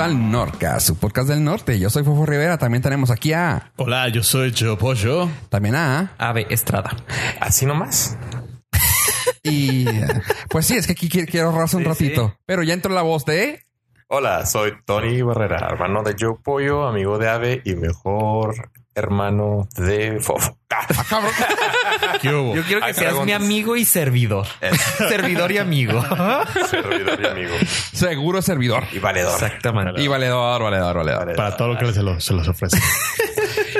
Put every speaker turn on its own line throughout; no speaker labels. al Norca, su podcast del norte. Yo soy Fofo Rivera. También tenemos aquí a.
Hola, yo soy Cheo Pollo.
También a.
Ave Estrada.
Así nomás.
Y. eh, Pues sí, es que aquí qui- quiero raza un
Sí, sí.
ratito. Pero ya entró la voz de.
Hola, soy Tony Barrera, hermano de Joe Pollo, amigo de Ave y mejor hermano de Fofo. Ah,
¡Ah, cabrón!
¿Qué hubo?
Yo quiero que
Hay
seas mi
preguntas.
amigo y servidor. servidor y amigo.
servidor y amigo.
Seguro servidor.
Y valedor.
Exactamente.
Y valedor, valedor, valedor.
Valedor.
Para todo lo que se, lo- se los ofrece.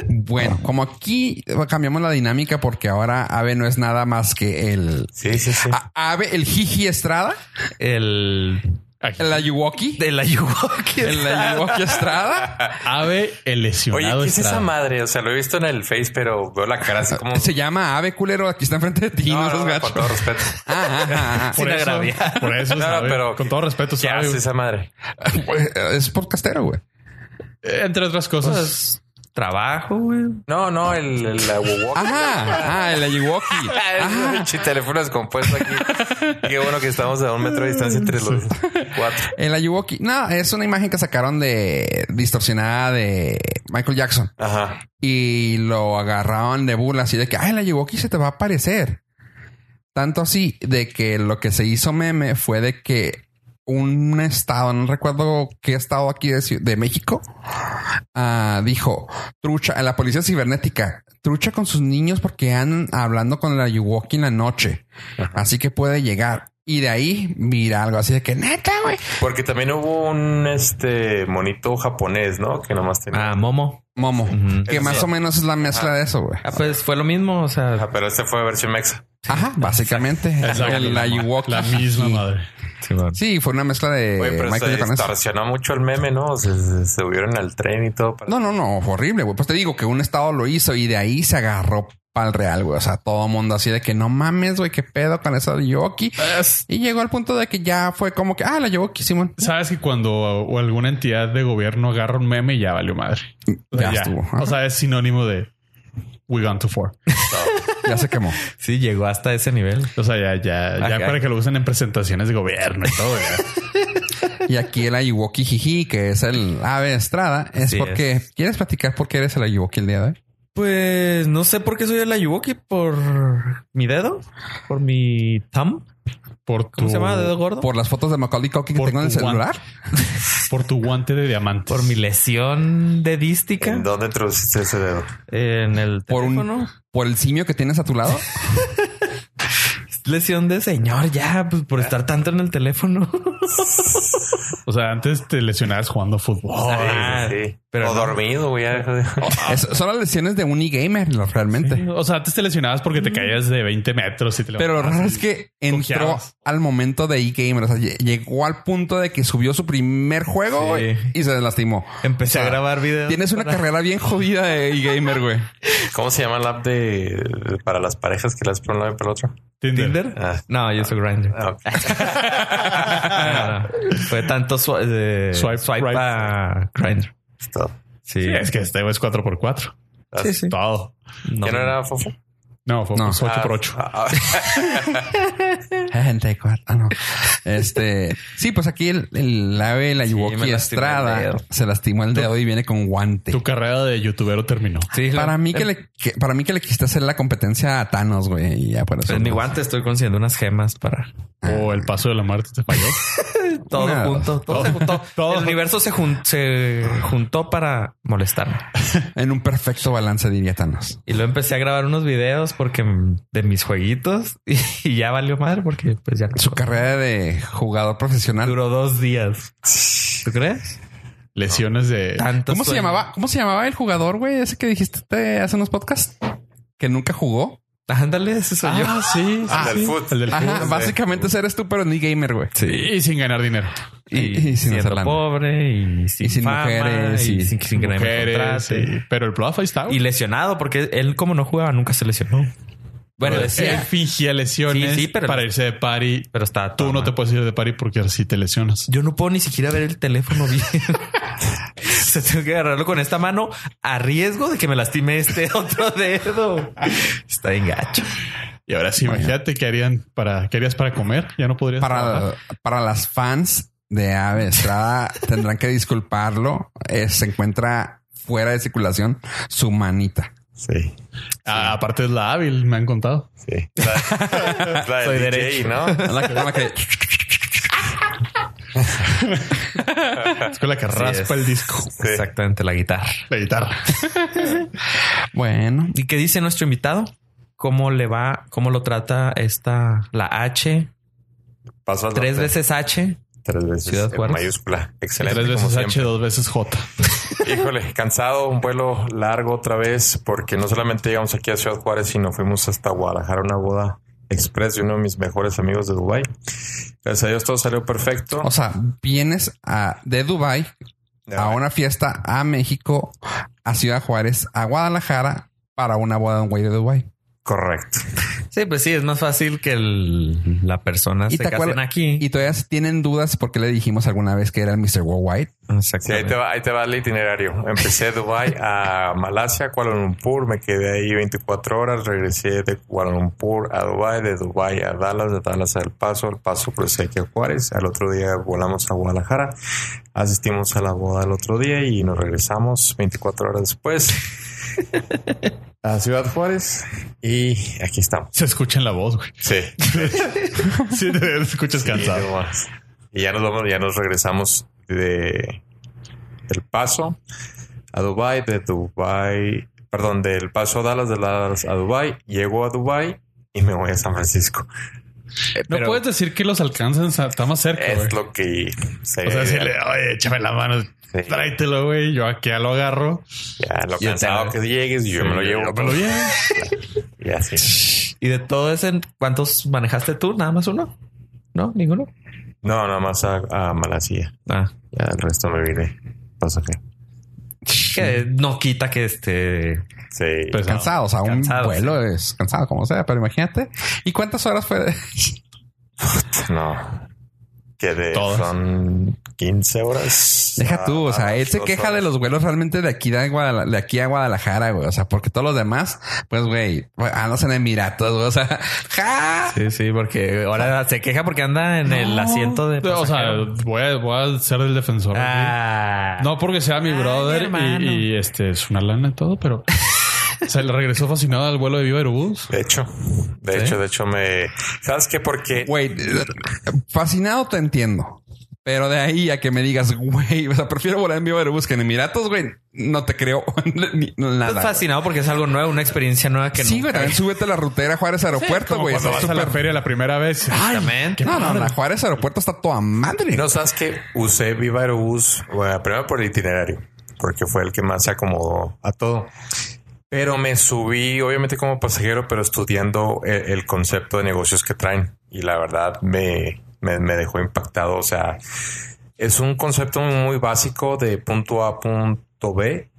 Bueno, como aquí cambiamos la dinámica porque ahora Ave no es nada más que el.
Sí, sí, sí.
A- Ave, el Jiji Estrada,
El...
Aquí.
el Ayuwoki,
De la Yuwoki.
el Ayuwoki Estrada.
Ave el
Oye,
lesionado
¿qué es esa
Estrada.
madre? O sea, lo he visto en el Face, pero veo la cara así como.
Se llama Ave Culero, aquí está enfrente de ti, no,
no,
seas
no, no,
gacho.
con todo respeto.
Ah, ah, ah,
Por
Sin
eso,
agraviar.
por eso
No,
sabe.
pero
con todo respeto,
¿Qué
sabe.
hace esa madre?
ah. Es podcastero, güey.
Eh, Entre otras cosas.
Trabajo, güey.
No, no, el, el la Wowoki.
Ajá, ah, el Ayuwoki.
Ah,
Ah,
pinche teléfono descompuesto aquí. Qué bueno que estamos a un metro de distancia entre los cuatro.
el Ayuwoki. No, es una imagen que sacaron de distorsionada de Michael Jackson
Ajá.
y lo agarraron de burla así de que, ay, el Ayuwoki se te va a aparecer. Tanto así de que lo que se hizo meme fue de que un estado, no recuerdo qué estado aquí de, Ciu- de México, ah, dijo, trucha, a la policía cibernética, trucha con sus niños porque andan hablando con la Yuwoki en la noche. Así que puede llegar. Y de ahí mira algo así de que neta, güey.
Porque también hubo un este monito japonés, ¿no? Que nomás tenía.
Ah, Momo.
Momo,
Ujú.
que más o menos es la mezcla de eso, güey.
Ah, pues fue lo mismo. O sea,
Ah, pero este fue versión mexa.
Ajá, básicamente.
Exacto.
el Ayuwoki.
La misma
Sí.
madre.
Sí, fue una mezcla
Eh,
de
Oye, pero
Michael
se
Jackson.
distorsionó mucho el meme, ¿no? Se, se- se subieron al tren y todo. para-
No, no, no, fue horrible, güey. Pues te digo que un estado lo hizo y de ahí se agarró para el real, güey. O sea, todo mundo así de que no mames, güey, qué pedo con esa Yoki. Y llegó al punto de que ya fue como que, ah, la Yoki, Simón.
Sabes que cuando o alguna entidad de gobierno agarra un meme, ya valió madre. O sea,
Ya estuvo.
O sea, es sinónimo de we gone to four.
Ya se quemó.
sí, llegó hasta ese nivel.
O sea, ya, ya, ya
Ajá.
para que lo usen en presentaciones de gobierno y todo. ya.
Y aquí el Ayuwoki Jiji, que es el ave Estrada, es
Así
porque quieres platicar por qué eres el Ayuwoki el día de hoy.
Pues no sé por qué soy el Ayuwoki. Por mi dedo. Por mi thumb.
Por tu,
¿Cómo se llama? ¿Dedo gordo? Por,
Por las fotos de Macaulay Culkin que
Por
tengo en el
tu
celular.
por tu guante de diamantes.
mi lesión dedística.
¿En dónde introduciste ese dedo?
En el
Por un-
teléfono.
Por el simio que tienes a tu lado.
Lesión de señor, ya, pues por estar tanto en el teléfono.
O sea, antes te lesionabas jugando
Oh,
fútbol.
Ah,
sí, sí.
pero
o
no.
dormido, güey. ya.
Es- son las lesiones de un e-gamer, lo- realmente.
O sea, antes te lesionabas porque te caías de 20 metros y te
Pero lo
levantabas
raro
y-
es que entró
cojeabas.
al momento de e-gamer. O sea, lle- llegó al punto de que subió su primer juego güey, y se lastimó.
Empecé a grabar videos.
Tienes una carrera bien jodida de e-gamer, güey.
¿Cómo se llama la app de, para las parejas que las ponen uno para el otro?
Tinder.
Tinder?
Ah.
No, yo soy Grindr.
Ah,
No, no. Fue tanto swi- de-
Swipe
swipe,
right.
a Grindr.
es Pues todo.
Sí,
Sí, es que este güey es 4x4.
Sí, sí.
Todo.
No,
¿Ya no era Fofo?
No, fue
No.
8x8.
Ah, ah,
Gente, cuarta, Ah, no. Este, sí, pues aquí el, el ave, la Yuwoki
me lastimó
Estrada,
el dedo.
se lastimó el dedo y viene con guante.
Tu carrera de youtubero terminó.
sí, la-
Para mí que le, que- para mí que le quisiste hacer la competencia a Thanos, güey. Y ya por eso.
en mi
no.
guante estoy consiguiendo unas gemas para
O el paso de la muerte te falló.
todo
Nada.
junto. Todo, se juntó.
Todo.
El universo se, jun- se juntó para molestarme.
En un perfecto balance diría Thanos.
Y luego empecé a grabar unos videos porque m- de mis jueguitos y, y ya valió madre porque pues ya
Su carrera de jugador profesional.
duró dos días. ¿Tú crees?
Lesiones de...
Tanto
¿Cómo se
sueño.
llamaba? ¿Cómo se llamaba el jugador, güey? Ese que dijiste te- hace unos podcasts que nunca jugó.
Ándale, ese soy yo.
sí.
Ah, del fut.
El del
Ajá,
fut.
básicamente ese eres tú, pero ni gamer, güey.
Y sin ganar dinero.
Y, y sin
siendo
hacer lana.
pobre y sin,
Y sin
fama,
mujeres,
y
y
sin, sin que nadie me
Mujeres,
contrate.
sí. Pero el profe ahí estaba.
y lesionado porque él como no jugaba nunca se lesionó. Bueno,
él
decía,
fingía lesiones
Sí, sí, pero- Ah,
para irse de party.
pero está
Tú no te puedes ir de party porque así te lesionas.
Yo no puedo ni siquiera ver el teléfono bien. Se tengo que agarrarlo con esta mano a riesgo de que me lastime este otro dedo. Está en gacho.
Y ahora sí,
Vaya.
imagínate qué harían para, qué harías para comer. Ya no podrías. trabajar.
Para, para las fans de Ave Estrada tendrán que disculparlo. Eh, se encuentra fuera de circulación su manita.
Sí,
Ah, aparte es la hábil, me han contado.
sí. La, es la del
Soy
DJ,
derecho.
¿no?
Es la que- con la que-
Es con la que raspa
es.
el disco.
Exactamente, la guitarra.
La guitarra.
bueno,
¿Y qué dice nuestro invitado? ¿Cómo le va? ¿Cómo lo trata esta, la H?
Paso al
Tres
norte.
veces H.
Tres veces.
Ciudad
en
Juárez.
mayúscula. Excelente.
Tres veces
como
H,
siempre.
dos veces J.
Híjole, cansado, un vuelo largo otra vez, porque no solamente llegamos aquí a Ciudad Juárez, sino fuimos hasta Guadalajara a una boda express de uno de mis mejores amigos de Dubái. Gracias a Dios todo salió perfecto.
o sea, vienes a, de Dubai a una fiesta a México, a Ciudad Juárez, a Guadalajara para una boda de un güey de Dubai.
Correcto.
Sí, pues sí, es más fácil que el- la persona
¿Y
se
te
casen
acuerdas-
aquí.
Y todavía tienen dudas porque le dijimos alguna vez que era el Mr. Worldwide.
Sí, ahí te,
Exactamente.
va, ahí te va el itinerario. Empecé de Dubái a Malasia, Kuala Lumpur, me quedé ahí 24 horas, regresé de Kuala Lumpur a Dubái, de Dubái a Dallas, de Dallas a El Paso, El Paso crucé aquí a Juárez, al otro día volamos a Guadalajara, asistimos a la boda el otro día y nos regresamos 24 horas después a Ciudad Juárez y aquí estamos.
Se escucha en la voz, güey.
Sí.
Sí, te escuchas
Y,
cansado.
demás. Y ya nos vamos, ya nos regresamos de El Paso a Dubai, de Dubai, perdón, del Paso a Dallas, de Dallas a Dubai, llego a Dubai y me voy a San Francisco.
No
Pero-
puedes decir que los alcanzan, está más cerca, güey.
Es lo que se
O sea, decirle, oye, échame la mano,
Sí.
tráetelo, güey. Yo aquí ya lo agarro.
ya lo
Yo
cansado
te-
que llegues, yo me lo llevo.
Pero bien.
Y así.
Y de todo ese, ¿cuántos manejaste tú? ¿Nada más uno? ¿No? ¿Ninguno?
No, nada más a, a Malasia.
Ah,
Ya el resto me vine pasajero.
que no quita que este...
Sí.
Pues,
Cansados, o sea, un
Cansados,
vuelo es cansado como sea, pero imagínate. ¿Y cuántas horas fue? de-
No. Que de-
Todas.
son 15 horas. Ah,
Deja tú, o sea, él se
dos
queja de
horas.
los vuelos realmente de aquí, de, Guadala- de aquí a Guadalajara, güey. O sea, porque todos los demás, pues, güey, andas en Emiratos, güey. O sea, ¡ja!
Sí, sí, porque ahora se queja porque anda en el
No.
asiento de...
O sea,
pasajero.
voy a, voy a ser el defensor.
Ah.
No porque sea mi
Ay, mi
brother
hermano.
y, y, este es una lana y todo, pero se le regresó fascinado al vuelo de Viva Aerobús.
De hecho, de hecho, de hecho me... ¿Sabes qué? Porque...
Güey, fascinado te entiendo. Pero de ahí a que me digas, güey, o sea, prefiero volar en vivo Airbus que en Emiratos, güey, no te creo ni-
Estás
nada.
fascinado porque es algo nuevo, una experiencia nueva que
Sí,
nunca-
güey, también súbete a la rutera Juárez Aeropuerto, güey.
Cuando
Está
vas a la
súper-
feria la primera vez.
Exactamente.
No, no, la Juárez Aeropuerto está toda madre.
No, ¿sabes qué? Usé Viva Aerobús, bueno, primero por el itinerario, porque fue el que más se acomodó a todo. Pero me subí, obviamente como pasajero, pero estudiando el, el concepto de negocios que traen. Y la verdad me, me, me dejó impactado. O sea, es un concepto muy básico de punto A a punto B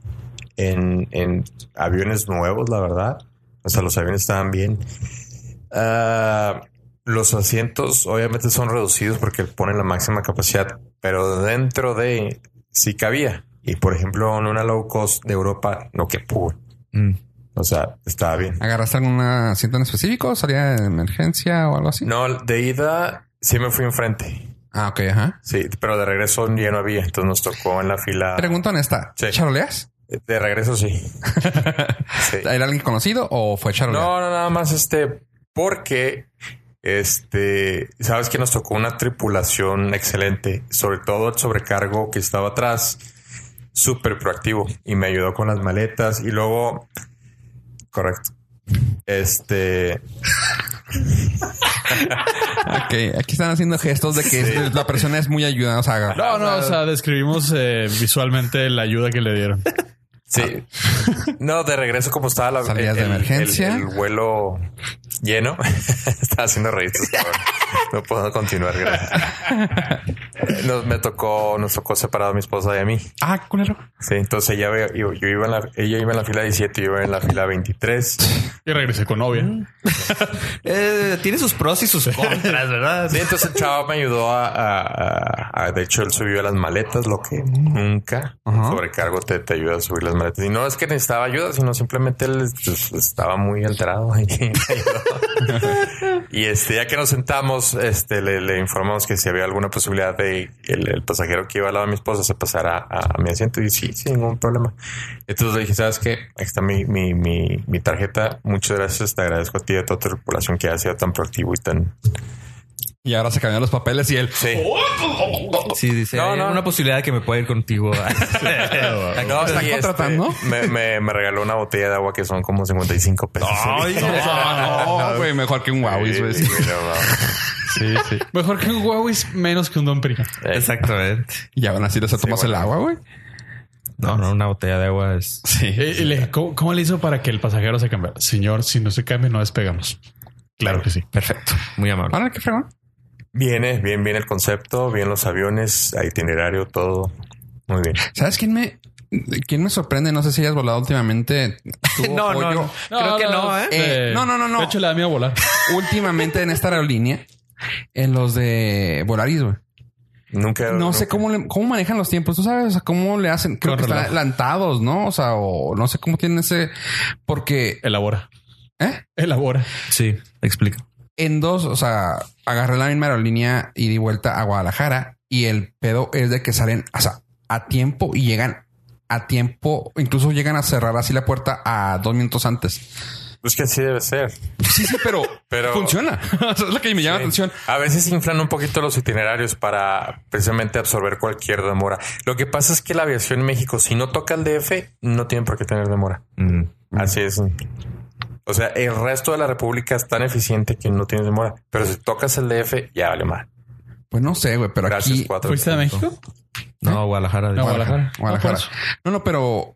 en, en aviones nuevos, la verdad. O sea, los aviones estaban bien. Ah, los asientos obviamente son reducidos porque ponen la máxima capacidad, pero dentro de sí cabía. Y por ejemplo, en una low cost de Europa, no que pudo.
Mm.
O sea, estaba bien.
¿Agarraste algún asiento en específico? ¿Salía de emergencia o algo así?
No, de ida sí me fui enfrente.
Ah, ok, ajá.
Sí, pero de regreso ya no había. Entonces nos tocó en la fila.
Pregunta honesta.
Sí.
¿Charoleas?
De regreso sí. Sí.
¿Era alguien conocido o fue charolea?
No, no, nada más este, porque este, sabes que nos tocó una tripulación excelente, sobre todo el sobrecargo que estaba atrás, súper proactivo y me ayudó con las maletas y luego, correcto, este,
Ok, aquí están haciendo gestos de que la persona es muy ayudada. O sea,
No, no, o sea, describimos eh, visualmente la ayuda que le dieron.
sí, no, de regreso como estaba la
Salidas Ah. de emergencia.
el, el vuelo lleno, estaba haciendo registros, cabrón. no puedo continuar, gracias. Nos, me tocó, nos tocó separado mi esposa y a mí.
ah, culero.
Sí, entonces ella, ve- yo, yo iba en la, ella iba en la fila 17, yo iba en la fila 23.
Y regresé con novia.
Eh, tiene sus pros y sus contras, ¿verdad?
Sí, entonces el chavo me ayudó a, a- a- a- De hecho, él subió las maletas, lo que nunca un
Ajá.
sobrecargo te, te ayuda a subir las maletas. Y no es que necesitaba ayuda, sino simplemente él es- estaba muy pues, alterado. y me ayudó. y este, ya que nos sentamos, este, le, le informamos que si había alguna posibilidad de el, el pasajero que iba al lado de mi esposa se pasara a, a mi asiento. Y sí, sin ningún problema. Entonces le dije, ¿sabes qué? Aquí está mi, mi, mi, mi tarjeta. Muchas gracias. Te agradezco a ti y a toda tu tripulación que ha sido tan proactivo y tan...
Y ahora se cambian los papeles y él.
Sí.
Sí, dice.
No,
"Hay
no.
una posibilidad que me pueda ir contigo.
No,
¿Te están
y, este,
contratando?
me, me- me regaló una botella de agua que son como 55 pesos.
Ay, no, no, güey, mejor que un Huawei.
Sí,
güey.
sí, no, no.
Sí, sí. Mejor que un Huawei es menos que un Don Periñón.
Exactamente.
Y aún así les tomas el agua, güey.
No, no, una botella de agua es.
Sí.
Eh, y le dije, ¿cómo, cómo le hizo para que el pasajero se cambiara? Señor, si no se cambia, no despegamos. Claro que sí.
Perfecto. Muy amable.
Ahora qué fregón.
Viene, bien, bien el concepto, bien los aviones, a itinerario, todo. Muy bien.
¿Sabes quién me, quién me sorprende? No sé si hayas volado últimamente. Tú
No,
o
no,
yo.
no. Creo que no, ¿eh?
Eh, no, no, no, no.
De hecho, le da miedo volar.
Últimamente en esta aerolínea, en los de Volaris, güey.
Nunca.
No sé
nunca-
cómo, le- cómo manejan los tiempos. Tú sabes, o sea, cómo le hacen. Creo
Con
que están
reloj.
adelantados, ¿no? O sea, o no sé cómo tienen ese. Porque,
Elabora.
¿eh?
Elabora.
Sí, explica.
en dos, o sea, agarré la misma aerolínea y di vuelta a Guadalajara y el pedo es de que salen, o sea, a tiempo y llegan a tiempo, incluso llegan a cerrar así la puerta a dos minutos antes.
Pues que así debe ser.
Sí, sí, pero,
Pero-
funciona. O sea, es lo que me llama la atención.
A veces inflan un poquito los itinerarios para precisamente absorber cualquier demora. Lo que pasa es que la aviación en México, si no toca el DF, no tiene por qué tener demora.
Mm.
Mm.
Así es. O sea, el resto de la República es tan eficiente que no tiene demora. Pero si tocas el DF, ya vale mal.
Pues no sé, güey, pero
Gracias,
aquí
cuatro.
¿Fuiste a México?
¿Eh? No, Guadalajara.
No,
dice.
Guadalajara. Ah, pues.
Guadalajara.
Ah,
No,
No, por
no, pero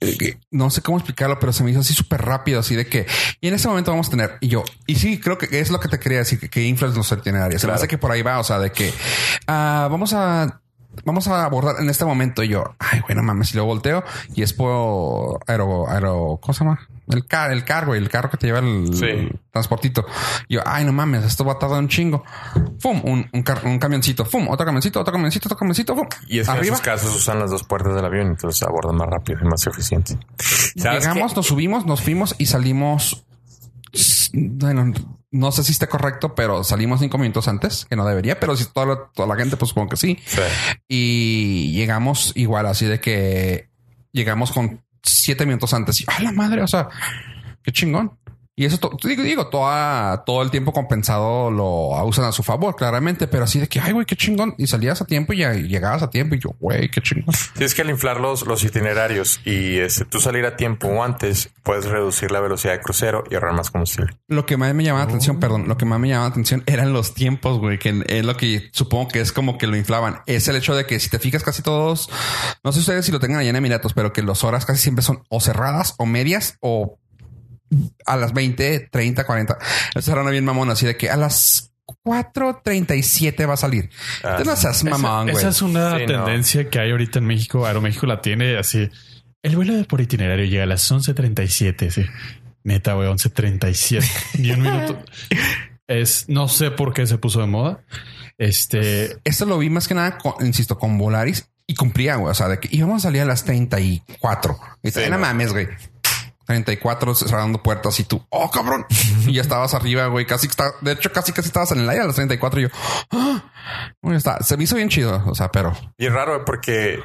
eh, no sé cómo explicarlo, pero se me hizo así súper rápido, así de que y en ese momento vamos a tener y yo y sí creo que es lo que te quería decir que, que inflas los itinerarios. Se me
Claro.
hace que por ahí va, o sea, de que ah, vamos a vamos a abordar en este momento y yo, ay, bueno, mames, si lo volteo y es por aero, aero, ¿cómo se llama? El, car el cargo y el carro que te lleva el
Sí.
transportito. Y Yo, ay, no mames, esto va a tardar un chingo. Fum, un, un, car- un camioncito, fum, otro camioncito, otro camioncito, otro camioncito, fum.
Y es que en esos casos usan las dos puertas del avión, entonces abordan más rápido y más eficiente. ¿Sabes
Llegamos, nos subimos, nos fuimos y salimos. Bueno, no sé si está correcto, pero salimos cinco minutos antes, que no debería, pero si toda la, toda la gente, pues supongo que sí.
qué? Sí.
Y llegamos igual, así de que llegamos con siete minutos antes. Y, ¡Ah, la madre! O sea, qué chingón. Y eso, to- digo, digo toda, todo el tiempo compensado lo usan a su favor, claramente, pero así de que, ay, güey, qué chingón. Y salías a tiempo y ya- y llegabas a tiempo y yo, güey, qué chingón.
Si es que al inflar los, los itinerarios y este, tú salir a tiempo o antes, puedes reducir la velocidad de crucero y ahorrar más combustible.
Lo que más me llamaba la
Oh.
atención, perdón, lo que más me llamaba la atención eran los tiempos, güey, que es lo que supongo que es como que lo inflaban. Es el hecho de que si te fijas casi todos, no sé ustedes si lo tengan allá en Emiratos, pero que las horas casi siempre son o cerradas o medias o a las 20, 30, 40. Esa era una bien mamón, así de que a las 4.37 va a salir.
Ah,
Entonces no seas mamón,
esa,
güey.
esa es una
Sí, no.
tendencia que hay ahorita en México. Aeroméxico la tiene así. El vuelo de por itinerario llega a las 11.37. Sí. Neta, güey, 11.37. Ni un minuto. Es, no sé por qué se puso de moda. Este,
Esto lo vi más que nada, con- insisto, con Volaris y cumplía, güey. O sea, de que íbamos a salir a las 34. Y dice,
Sí,
no
no.
mames, güey. 34 cerrando puertas y tú, oh cabrón. Y ya estabas arriba, güey. Casi que está, de hecho, casi casi estabas en el aire a las 34 y yo, ah, Bueno, está. Se me hizo bien chido. O sea, pero
Y es raro ¿eh? porque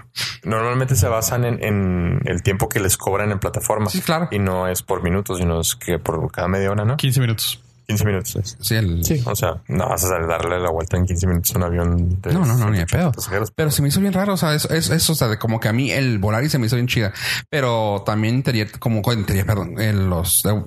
normalmente se basan en, en el tiempo que les cobran en plataforma.
Sí, claro.
Y no es por minutos, sino es que por cada media hora, ¿no?
15 minutos.
15 minutos. es.
sí, el-
O sea, no vas a darle la vuelta en 15 minutos a un avión de
No, no, no, ni de
180
pedo.
pasajeros.
Pero se me hizo bien raro. O sea, eso es, es, o sea, de como que a mí el Volaris se me hizo bien chida, pero también tenía como tenía, perdón, en los de,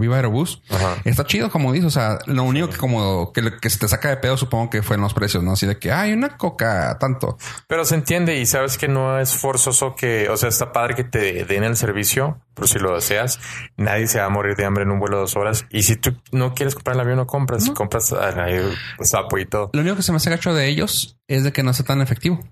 Viva Aerobús.
Ajá.
Está chido, como dices. O sea, lo único que como que, lo que se te saca de pedo, supongo que fue en los precios, ¿no? Así de que hay una coca, tanto.
Pero se entiende y sabes que no es forzoso que, o sea, está padre que te den el servicio, por si lo deseas. Nadie se va a morir de hambre en un vuelo de dos horas. Y si tú no quieres comprar el avión, no compras. Si compras ah, al sapo y todo.
Lo único que se me hace gacho de ellos es de que no sea tan efectivo.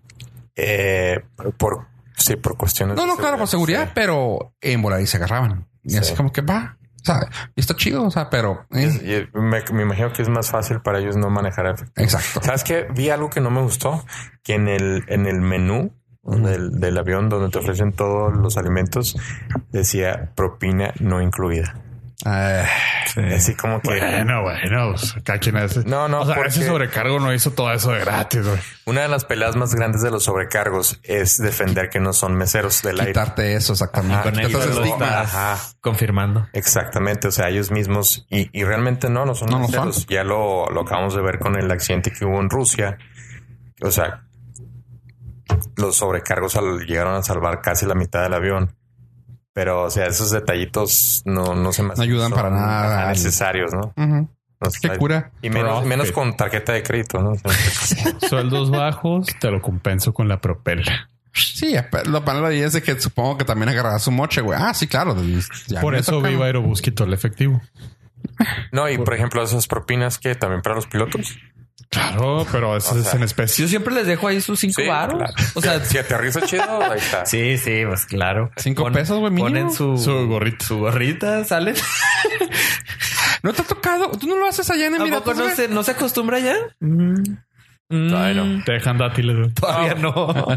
Eh, por, sí, por cuestiones.
No,
de
no, claro, por seguridad,
sí.
pero en Volaris se agarraban. Y
Sí.
así como que va. O sea, y está chido, o sea, pero... eh,
Y es- y me, me imagino que es más fácil para ellos no manejar efectivo.
exacto.
¿Sabes qué? Vi algo que no me gustó, que en el, en el menú del, del avión donde te ofrecen todos los alimentos decía propina no incluida.
Eh,
Así como que
Bueno, bueno, pues, cada quien hace.
No, no,
O sea, ese
porque-
sobrecargo no hizo todo eso de gratis, güey.
una de las peleas más grandes de los sobrecargos es defender que no son meseros del aire.
Quitarte eso, exactamente.
Ajá,
Con
Quitarte
ellos
ese
lo
estigma.
estás confirmando.
Exactamente, o sea, ellos mismos y, y realmente no, no son
No lo
meseros. Ya lo, lo acabamos de ver con el accidente que hubo en Rusia. O sea, los sobrecargos al- llegaron a salvar casi la mitad del avión. Pero, o sea, esos detallitos no, no se me hacen
No ayudan
que son
para nada al-
necesarios, ¿no?
Ujú.
No
Qué
sé.
cura.
Y menos,
Profit.
menos con tarjeta de crédito, ¿no? O sea,
Sueldos bajos, te lo compenso con la propela.
Sí, pero lo malo ahí es de que supongo que también agarrarás su moche, güey. Ah, sí, claro. Ya
Por
me
eso
toca.
Viva Aerobús quitó el efectivo.
No, y por ejemplo, esas propinas que también para los pilotos.
Claro, pero eso
O
es
sea,
en
Yo
especie.
siempre les dejo ahí sus cinco
Sí,
baros.
claro.
O sea,
Si aterriza chido, ahí está.
sí, sí, pues claro.
Cinco pesos, güey, mínimo.
Ponen su,
Su gorrito.
su gorrita, salen.
No te ha tocado. Tú no lo haces allá en
¿A poco
Emiratos,
no
güey?
se, no se acostumbra ya? Mm.
Todavía no.
Te dejan dátiles, güey.
Todavía no.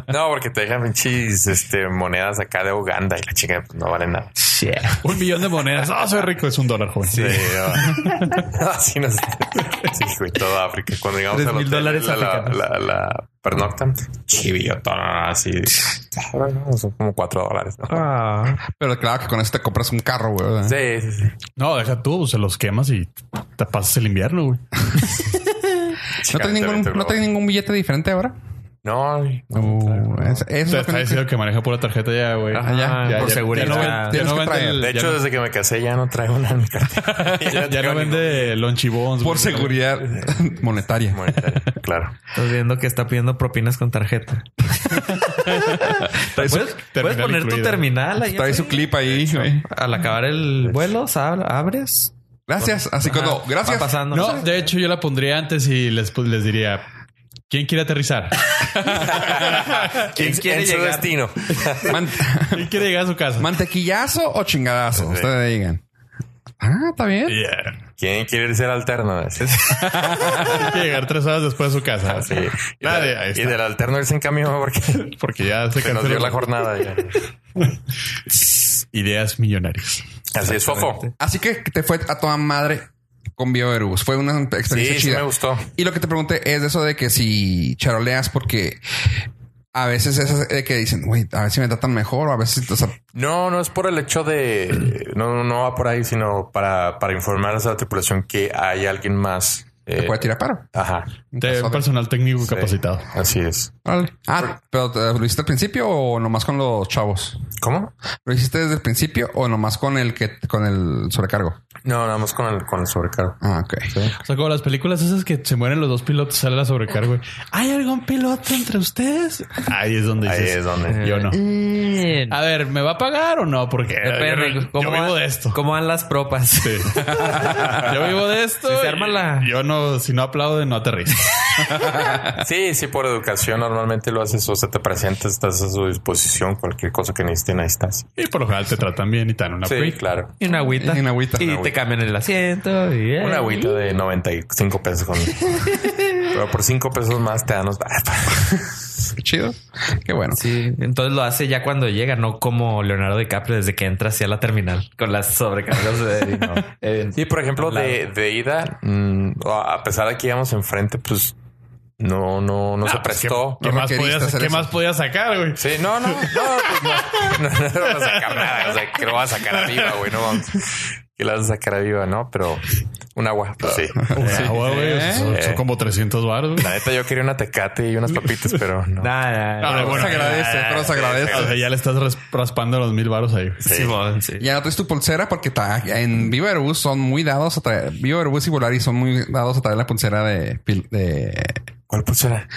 No, porque te dejan pinches este, monedas acá de Uganda y la chica pues, no vale nada.
Shit.
Un millón de monedas. Ah, soy rico, es un dólar, joven. Eh.
Sí, no. Así nos. Sí, güey, todo África. Cuando llegamos
Tres
al
mil
hotel,
dólares
la, la,
africanos.
la, la pernoctan, chivillotona, así. Bueno, Son como cuatro dólares. ¿no?
Pero claro que con eso te compras un carro, güey. ¿verdad?
Sí, sí, sí.
No, deja tú, se los quemas y te pasas el invierno, güey.
¿No traes ningún,
Chicamente,
¿no traes ningún billete diferente ahora?
No, no,
Uh, es- eso
O sea,
es lo que
está
no-
diciendo que maneja pura tarjeta ya, güey.
Ah, ya.
Ya,
por
ya,
seguridad.
ya no ven- ya
Tienes
no
que
vende
traer.
el-
De
ya
hecho,
no-
desde que me casé ya no traigo nada en mi cartera.
ya no
tengo ningún
vende lonchibons.
Por
güey.
seguridad monetaria.
monetario, Claro.
Estás viendo que está pidiendo propinas con tarjeta.
Trae su
¿Puedes, puedes
terminal
poner tu
incluido.
terminal ahí. Pues.
Trae su
arriba?
clip ahí, güey.
Al acabar el vuelo, sab- abres.
Gracias. Así que no,
Ajá,
gracias.
Va pasando.
No, de hecho, yo la pondría antes y les, pu- les diría: ¿Quién quiere aterrizar?
¿Quién
En-
quiere
en su
llegar?
destino.
Man-
¿Quién quiere llegar a su casa?
¿Mantequillazo o chingadazo?
Sí.
Ustedes digan. Ah, está bien.
Yeah.
¿Quién quiere ser alterno?
¿Quién quiere llegar tres horas después a su casa?
Ah, Sí. Y,
Nadie,
de-
ahí
y
está.
del alterno irse en camión porque
Porque ya se
se nos
canceló.
dio la jornada. ya.
Ideas millonarias.
Así es, Fofo.
Así que te fue a toda madre con Bioverus. Fue una experiencia
Sí, sí
chida.
me gustó.
Y lo que te pregunté es de eso de que si charoleas, porque a veces es de que dicen, güey, a ver si me tratan mejor o a veces, o sea,
No, no es por el hecho de... No, no va por ahí, sino para, para informar a la tripulación que hay alguien más. eh,
te puede tirar paro.
ajá,
En
Te-
caso de-
personal técnico
Sí.
capacitado.
así es.
Órale. Ah, pero ¿te- ¿lo hiciste al principio o nomás con los chavos?
¿Cómo?
¿Lo hiciste desde el principio o nomás con el que con el sobrecargo?
No, nada más con el, con el sobrecargo.
Ah, ok.
O sea, como las películas esas que se mueren los dos pilotos, sale la sobrecarga. ¿Hay algún piloto entre ustedes? Ahí es donde
Ahí
dices. "Eh,
es donde...
Yo no.
Mm.
A ver, ¿me va a pagar o no? Porque
Depende,
yo,
¿cómo
yo vivo
van-
de esto.
¿Cómo van las propas?
Sí. Yo vivo de esto.
Si se
y-
arma la-
Yo no, si no aplauden, no aterrizo.
Sí, sí, por educación normalmente lo haces. O sea, te presentas, estás a su disposición. Cualquier cosa que necesiten, ahí estás.
Y por lo general te tratan bien y te dan una
Sí,
free.
claro.
Y una agüita.
Y una agüita.
Y
Una
te
agüita.
cambian el asiento. Y, eh.
Una agüita de 95 pesos. Con... Pero por 5 pesos más te dan los...
Qué chido. Qué bueno.
Sí, entonces lo hace ya cuando llega, no como Leonardo DiCaprio desde que entra hacia la terminal con las sobrecargas de no. Eh,
Sí, por ejemplo,
Claro.
de, de ida, mm, a a pesar de que íbamos enfrente, pues no, no, no, se prestó.
¿Qué,
No
más
requeriste
podías,
hacer
¿qué
eso.
más podías sacar, güey?
Sí, no, no, no, pues no, no, no, vas a sacar nada. O sea, que lo vas a sacar a viva, güey, no vamos. Que la vas a sacar a viva, ¿no? Pero un agua, pues sí.
Un agua, güey.
Eh.
Son, son como 300 baros. güey.
La neta, yo quería una tecate y unas papitas, pero no.
nada,
Ah,
nada.
bueno,
se agradece, pero se
O sea,
agradece.
ya le estás ras- raspando los mil baros ahí. güey.
Simón, sí.
Ya no traes tu pulsera porque ta- en Viva Aerobús son muy dados a traer. Viva Aerobús y Volaris son muy dados a traer la pulsera de, pil- de
¿Cuál pulsera?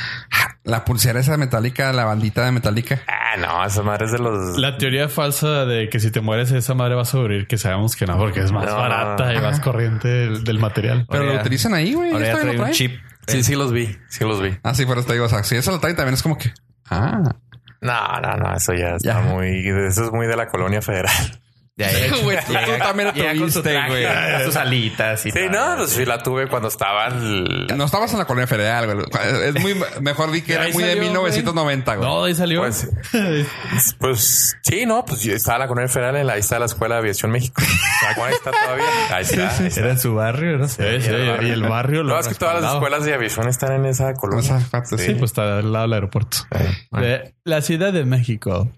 la pulsera esa metálica, la bandita de metálica.
Ah, no, esa madre es de los.
La teoría falsa de que si te mueres esa madre va a sobrevivir, que sabemos que no, porque es más
No.
barata y más corriente del, del material.
Pero
Ahora
lo
ya-
utilizan ahí, güey.
Ahora
ellos
ya
todavía
trae
lo
un
traen.
chip.
Sí, sí, los vi. Sí, los vi.
Ah, sí, pero te digo, o sea, si eso lo trae también es como que. Ah,
No, no, no, eso ya está
Ya.
muy. Eso es muy de la colonia federal.
Ya,
Güey, tú, tú también la
llega con su
tuviste,
traje,
güey.
con sus alitas y
Sí,
todo.
no, pues sí la tuve cuando estaba el-
No estabas en la colonia federal, güey. Es muy mejor di que era
Ahí
muy de
salió,
1990, güey.
No, ahí salió.
Pues, pues sí, no, pues yo estaba en la colonia federal en la ahí está la Escuela de Aviación México. Ahí está todavía. Ahí está. ahí está.
Era en su barrio, no
Sí,
sé.
sí, y el barrio lo
No, es que todas las
respaldaba.
escuelas de aviación están en esa
O
colonia.
sea, fíjate,
Sí,
sí.
pues está al lado del aeropuerto. Ah. De la Ciudad de México.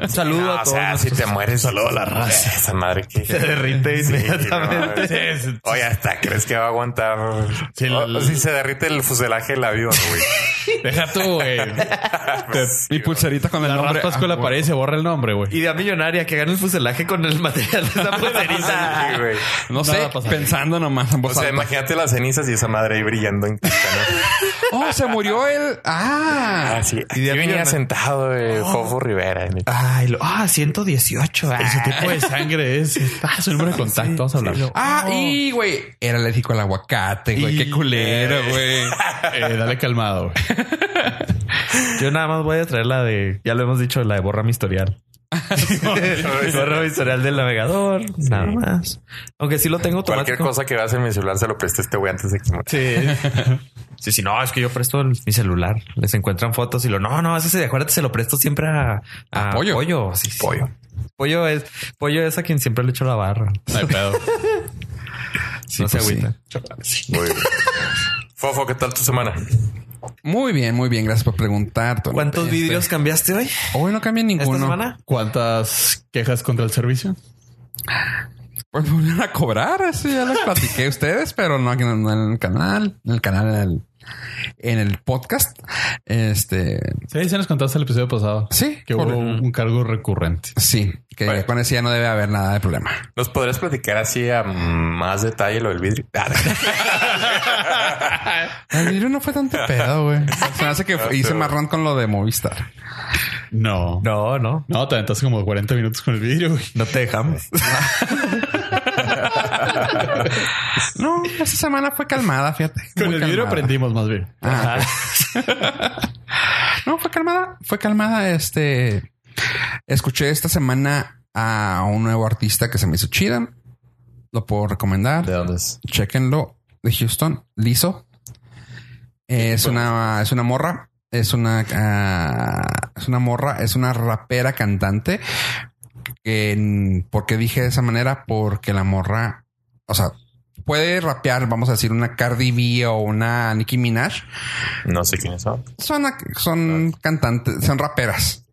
Un saludo
No,
Ah,
a
o
todos.
sea, si
nuestros-
te mueres, saludo a la raza. Esa madre que
Se derrite
Sí,
inmediatamente.
no, es- Oye, hasta crees que va a aguantar.
Sí,
O-
el-
si se derrite el fuselaje del avión, güey.
Deja tú, güey.
Y pulserita con el
La
nombre.
raspas con la
Ah,
pared y se borra el nombre, güey.
Idea millonaria que gane el fuselaje con el material de esa pulserita.
Sí, güey.
No sé,
Nada pasa.
pensando nomás en voz
O sea,
alta.
imagínate las cenizas y esa madre ahí brillando en
Oh, se murió el. Ah.
Así.
Y de
Yo venía
avión.
sentado de Fofo Rivera. en el-
Ay, lo- ah, 118. ah.
Ese tipo de sangre es. Ah, su número de contacto. Vamos a hablar.
Ah, y güey, era alérgico al aguacate, güey. Qué
Y-
culero, güey.
Eh, dale calmado, güey.
Yo nada más voy a traer la de, ya lo hemos dicho, la de borra mi historial. borra mi historial del navegador. Nada más. Aunque sí lo tengo
Cualquier
automático.
cosa que veas en mi celular se lo preste este güey antes de que muera.
Sí. Sí, sí, no, es que yo presto el- mi celular. Les encuentran fotos y lo, no, no, es ese de acuérdate, se lo presto siempre a, a
Pollo.
Pollo. Sí, sí. pollo. es, pollo es a quien siempre le echo la barra.
No hay pedo.
no se
pues,
agüita.
Muy bien. Fofo, ¿qué tal tu semana?
Muy bien, muy bien. Gracias por preguntar. Tony.
¿Cuántos
Este,
vidrios cambiaste hoy?
Hoy no cambia
¿Esta
ninguno.
semana?
¿Cuántas quejas contra el servicio?
Pues volvieron a cobrar, eso ya lo platiqué a ustedes, pero no aquí no- no en el canal, en el canal, en el, en el podcast. Este,
Sí, se nos contaste el episodio pasado.
Sí,
Que
por-
hubo un cargo recurrente.
sí, que
Bueno.
con ese ya no debe haber nada de problema.
¿Nos podrías platicar así a más detalle lo del vidrio? Ah,
El vidrio no fue tanto pedo, güey. Se me hace que fue- hice marrón con lo de Movistar.
No. No,
No, no,
te aventaste como 40 minutos con el vidrio, güey.
no te dejamos.
No, esa semana fue calmada, fíjate.
Con
Muy
el vidrio
calmada.
aprendimos más bien.
Ah, No, fue calmada, fue calmada. Este escuché esta semana a un nuevo artista que se me hizo chida. Lo puedo recomendar.
dónde es?
Chequenlo de Houston, Liso. Es una, es una morra, es una, ah, es una morra, es una rapera cantante. En- ¿Por qué dije de esa manera? Porque la morra, o sea, puede rapear, vamos a decir, una Cardi B o una Nicki Minaj,
No sé quiénes son.
son, ac- son cantantes, son raperas.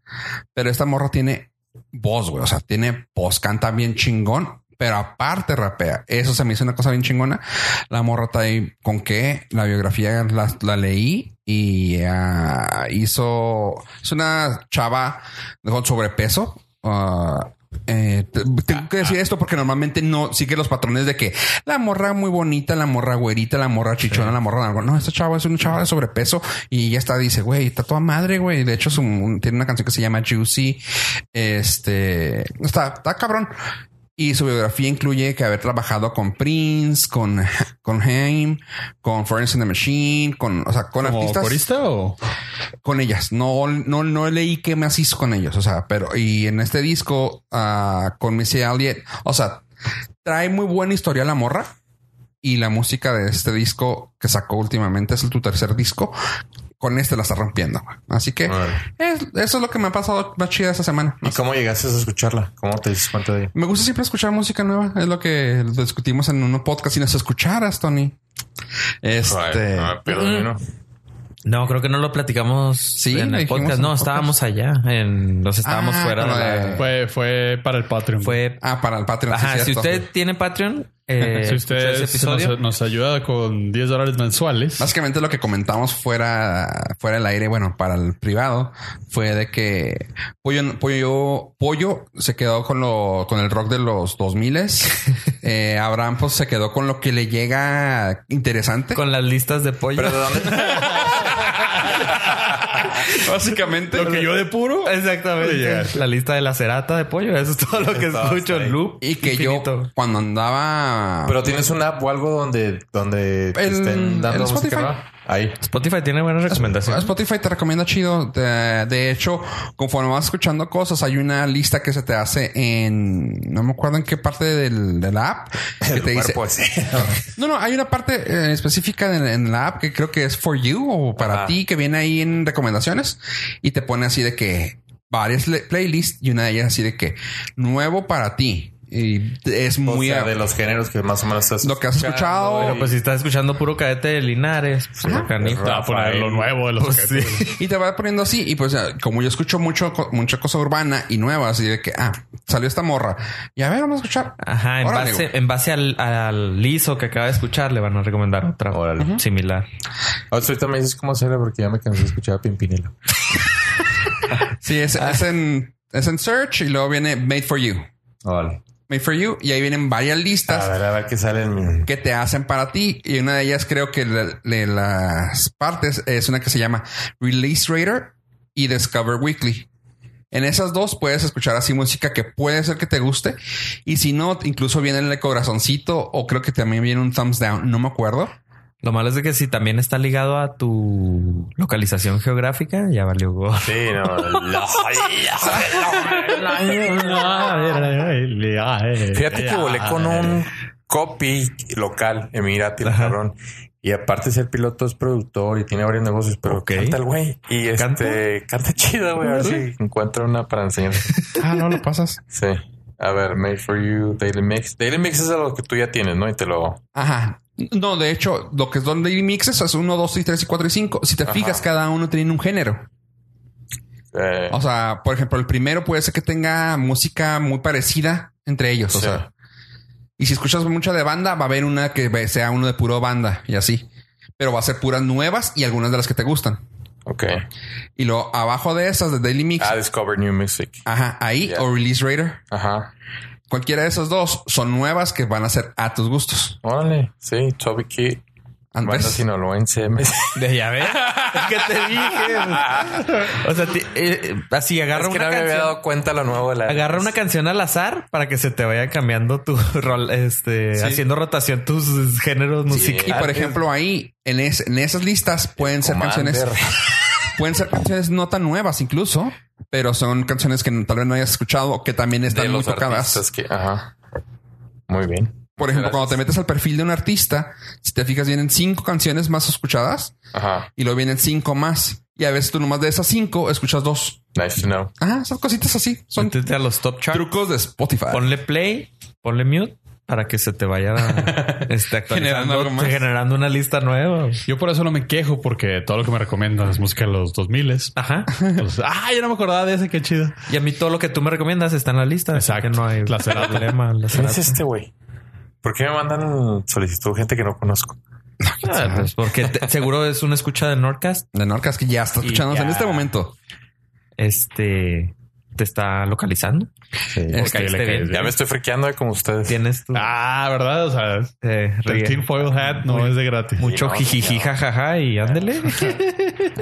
Pero esta morra tiene voz, güey. O sea, tiene voz, canta bien chingón, pero aparte rapea. Eso se me hizo una cosa bien chingona. La morra está ahí con qué. La biografía la, la leí y ah, hizo. Es una chava con sobrepeso. Ah, eh, te- tengo que decir esto porque normalmente no sigue los patrones de que la morra muy bonita, la morra güerita, la morra chichona, la morra algo. No, esta chava es una chava de sobrepeso y ya está, dice, güey, está toda madre, güey. De hecho, es un- tiene una canción que se llama Juicy. Este está, está cabrón. Y su biografía incluye que haber trabajado con Prince, con, con Haim, con Florence and the Machine, con, o sea, con
¿Como
artistas
corista o...?
con ellas. No, no, no leí qué más hizo con ellos. O sea, pero y en este disco ah, con Missy Elliott, o sea, trae muy buena historia la morra y la música de este disco que sacó últimamente es el, tu tercer disco. Con este la está rompiendo. güey. Así que
Órale.
es- eso es lo que me ha pasado más chida esta semana.
¿Y cómo llegaste a escucharla? ¿Cómo te diste cuenta de ella?
Me gusta siempre escuchar música nueva. Es lo que discutimos en un podcast. Si nos escucharas, Tony. Este.
perdón,
No, creo que no lo platicamos
Sí,
en
lo dijimos
el
en
podcast.
el
No,
podcast.
estábamos allá. En, nos estábamos
Ah,
fuera
con lo
de la-
de-
Fue, fue para el Patreon.
Fue.
Ah, para el Patreon. sí,
Ajá, si
cierto.
usted tiene Patreon, eh,
si
escucha
usted
ese episodio.
nos, nos ayuda con 10 dólares mensuales.
Básicamente lo que comentamos fuera, fuera del aire, bueno, para el privado, fue de que Pollo, Pollo, Pollo se quedó con lo, con el rock de los 2000 eh, Abraham pues se quedó con lo que le llega interesante.
Con las listas de pollo.
Básicamente
Lo que yo de puro.
Exactamente. La lista de la cerata de pollo. Eso es todo lo que
Está
escucho
hasta ahí.
en loop.
y que
infinito.
yo cuando andaba
Pero tienes una app o algo donde, donde te
El-
estén dando
el
música
Spotify.
nueva. Ahí.
Spotify tiene buenas recomendaciones.
Spotify te recomienda chido. De, de hecho, conforme vas escuchando cosas, hay una lista que se te hace en. No me acuerdo en qué parte del, de la app. Que te dice.
Cuerpo así.
No, no, hay una parte eh, específica en, en la app que creo que es for you o para
Ajá.
ti, que viene ahí en recomendaciones y te pone así de que varias le- playlists y una de ellas así de que nuevo para ti. Y es
O
muy
sea,
a-
de los géneros que más o menos estás
lo que has escuchado.
escuchando,
Pero pues si estás escuchando puro cadete de Linares, pues,
Ah,
canijo.
Te va a poner lo nuevo de los objetos.
Y te va poniendo así. Y pues, eh, como yo escucho mucho, co- mucha cosa urbana y nueva, así de que, ah, salió esta morra. Y a ver, vamos a escuchar.
Ajá, en
Órale,
base,
güey.
en base al, al liso que acaba de escuchar, le van a recomendar otra
Órale.
similar.
Ahorita ahorita me dices cómo hacerlo porque ya me cansé de escuchar a Pimpinela.
Sí, es,
Ah.
es en, es en search y luego viene made for you.
Oh, Vale.
Made for you. Y ahí vienen varias listas.
A ver, a ver qué sale en mi...
que te hacen para ti. Y una de ellas creo que de las partes es una que se llama Release Radar y Discover Weekly. En esas dos puedes escuchar así música que puede ser que te guste. Y si no, incluso viene el corazoncito o creo que también viene un thumbs down. No me acuerdo.
Lo malo es de que si también está ligado a tu localización geográfica, ya valió gorro.
Sí, no. la- Fíjate que volé con un copy local, Emirati, el
Ajá.
cabrón. Y aparte es el piloto, es productor y tiene varios negocios, pero
Ok.
canta el güey. Y
¿Canta?
este, canta chido, güey. A ver si encuentro una para enseñar.
Ah, no lo pasas.
Sí. A ver, Made for You, Daily Mix. Daily Mix es algo que tú ya tienes, ¿no? Y te lo...
Ajá. No, de hecho, lo que es donde mixes es 1, 2, 3, 4 y 5. Si te
Ajá.
fijas, cada uno tiene un género.
eh,
O sea, por ejemplo, el primero puede ser que tenga música muy parecida entre ellos. pues, O
Sí.
sea, y si escuchas mucha de banda, va a haber una que ve- sea uno de puro banda y así. Pero va a ser puras nuevas y algunas de las que te gustan.
ok.
Y luego abajo de esas de Daily Mix,
Ah, Discover New Music.
ajá, ahí
Ya.
o Release Radar.
Ajá.
Cualquiera de esas dos son nuevas que van a ser a tus gustos.
Órale. Sí, Toby Kid. Banda
Andrés.
sinaloense.
De ya ves. es que te dije. O sea, ti- eh, así agarra
Es que
una
no me había
canción.
dado cuenta lo nuevo de la...
Agarra una canción al azar para que se te vaya cambiando tu rol, este,
Sí.
haciendo rotación tus géneros
Y
musicales.
por ejemplo, ahí en, es- en esas listas pueden ser canciones,
Commander.
pueden ser canciones no tan nuevas incluso, pero son canciones que tal vez no hayas escuchado o que también
de
están muy
los
tocadas.
artistas que, ajá. Muy bien.
Por ejemplo,
Gracias.
cuando te metes al perfil de un artista, si te fijas, vienen cinco canciones más escuchadas
Ajá.
y luego vienen cinco más. Y a veces tú nomás de esas cinco escuchas dos.
Nice to know.
Ajá, son cositas así. Son
Métete a los top charts.
trucos de Spotify.
Ponle play, ponle mute para que se te vaya este, actualizando,
Generando algo más.
generando una lista nueva.
Yo por eso no me quejo porque todo lo que me recomiendan es música de los 2000 s
Ajá.
Ah, yo no me acordaba de ese, qué chido.
Y a mí todo lo que tú me recomiendas está en la lista. así
Exacto.
que no hay
La cerata.
problema. La
¿Quién
cerata.
es este güey? ¿Por qué me mandan solicitud gente que no conozco?
Ah, pues porque te- seguro es una escucha de Nordcast.
De Norcas que ya está
Y
escuchándonos en
ya.
este momento.
Este te está localizando.
Este,
caíste
le caes
bien.
Ya me estoy frequeando eh, como ustedes.
Tienes tu
Ah, ¿verdad? O sea,
eh,
el
ríe.
Team Foil Hat no es de gratis.
mucho
Sí, no,
jijiji
señor.
jajaja y ándele.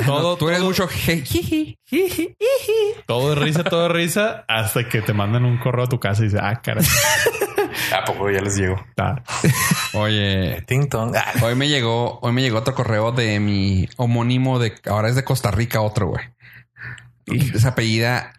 todo, tú eres mucho je- jiji.
Jiji, jiji.
Todo es risa, todo es risa, hasta que te mandan un correo a tu casa y dices, ah, caray.
¿A poco ya les llego?
Ah,
Oye,
Ting tong. Ah,
hoy me llegó, hoy me llegó otro correo de mi homónimo de ahora es de Costa Rica, otro güey. Y se apellida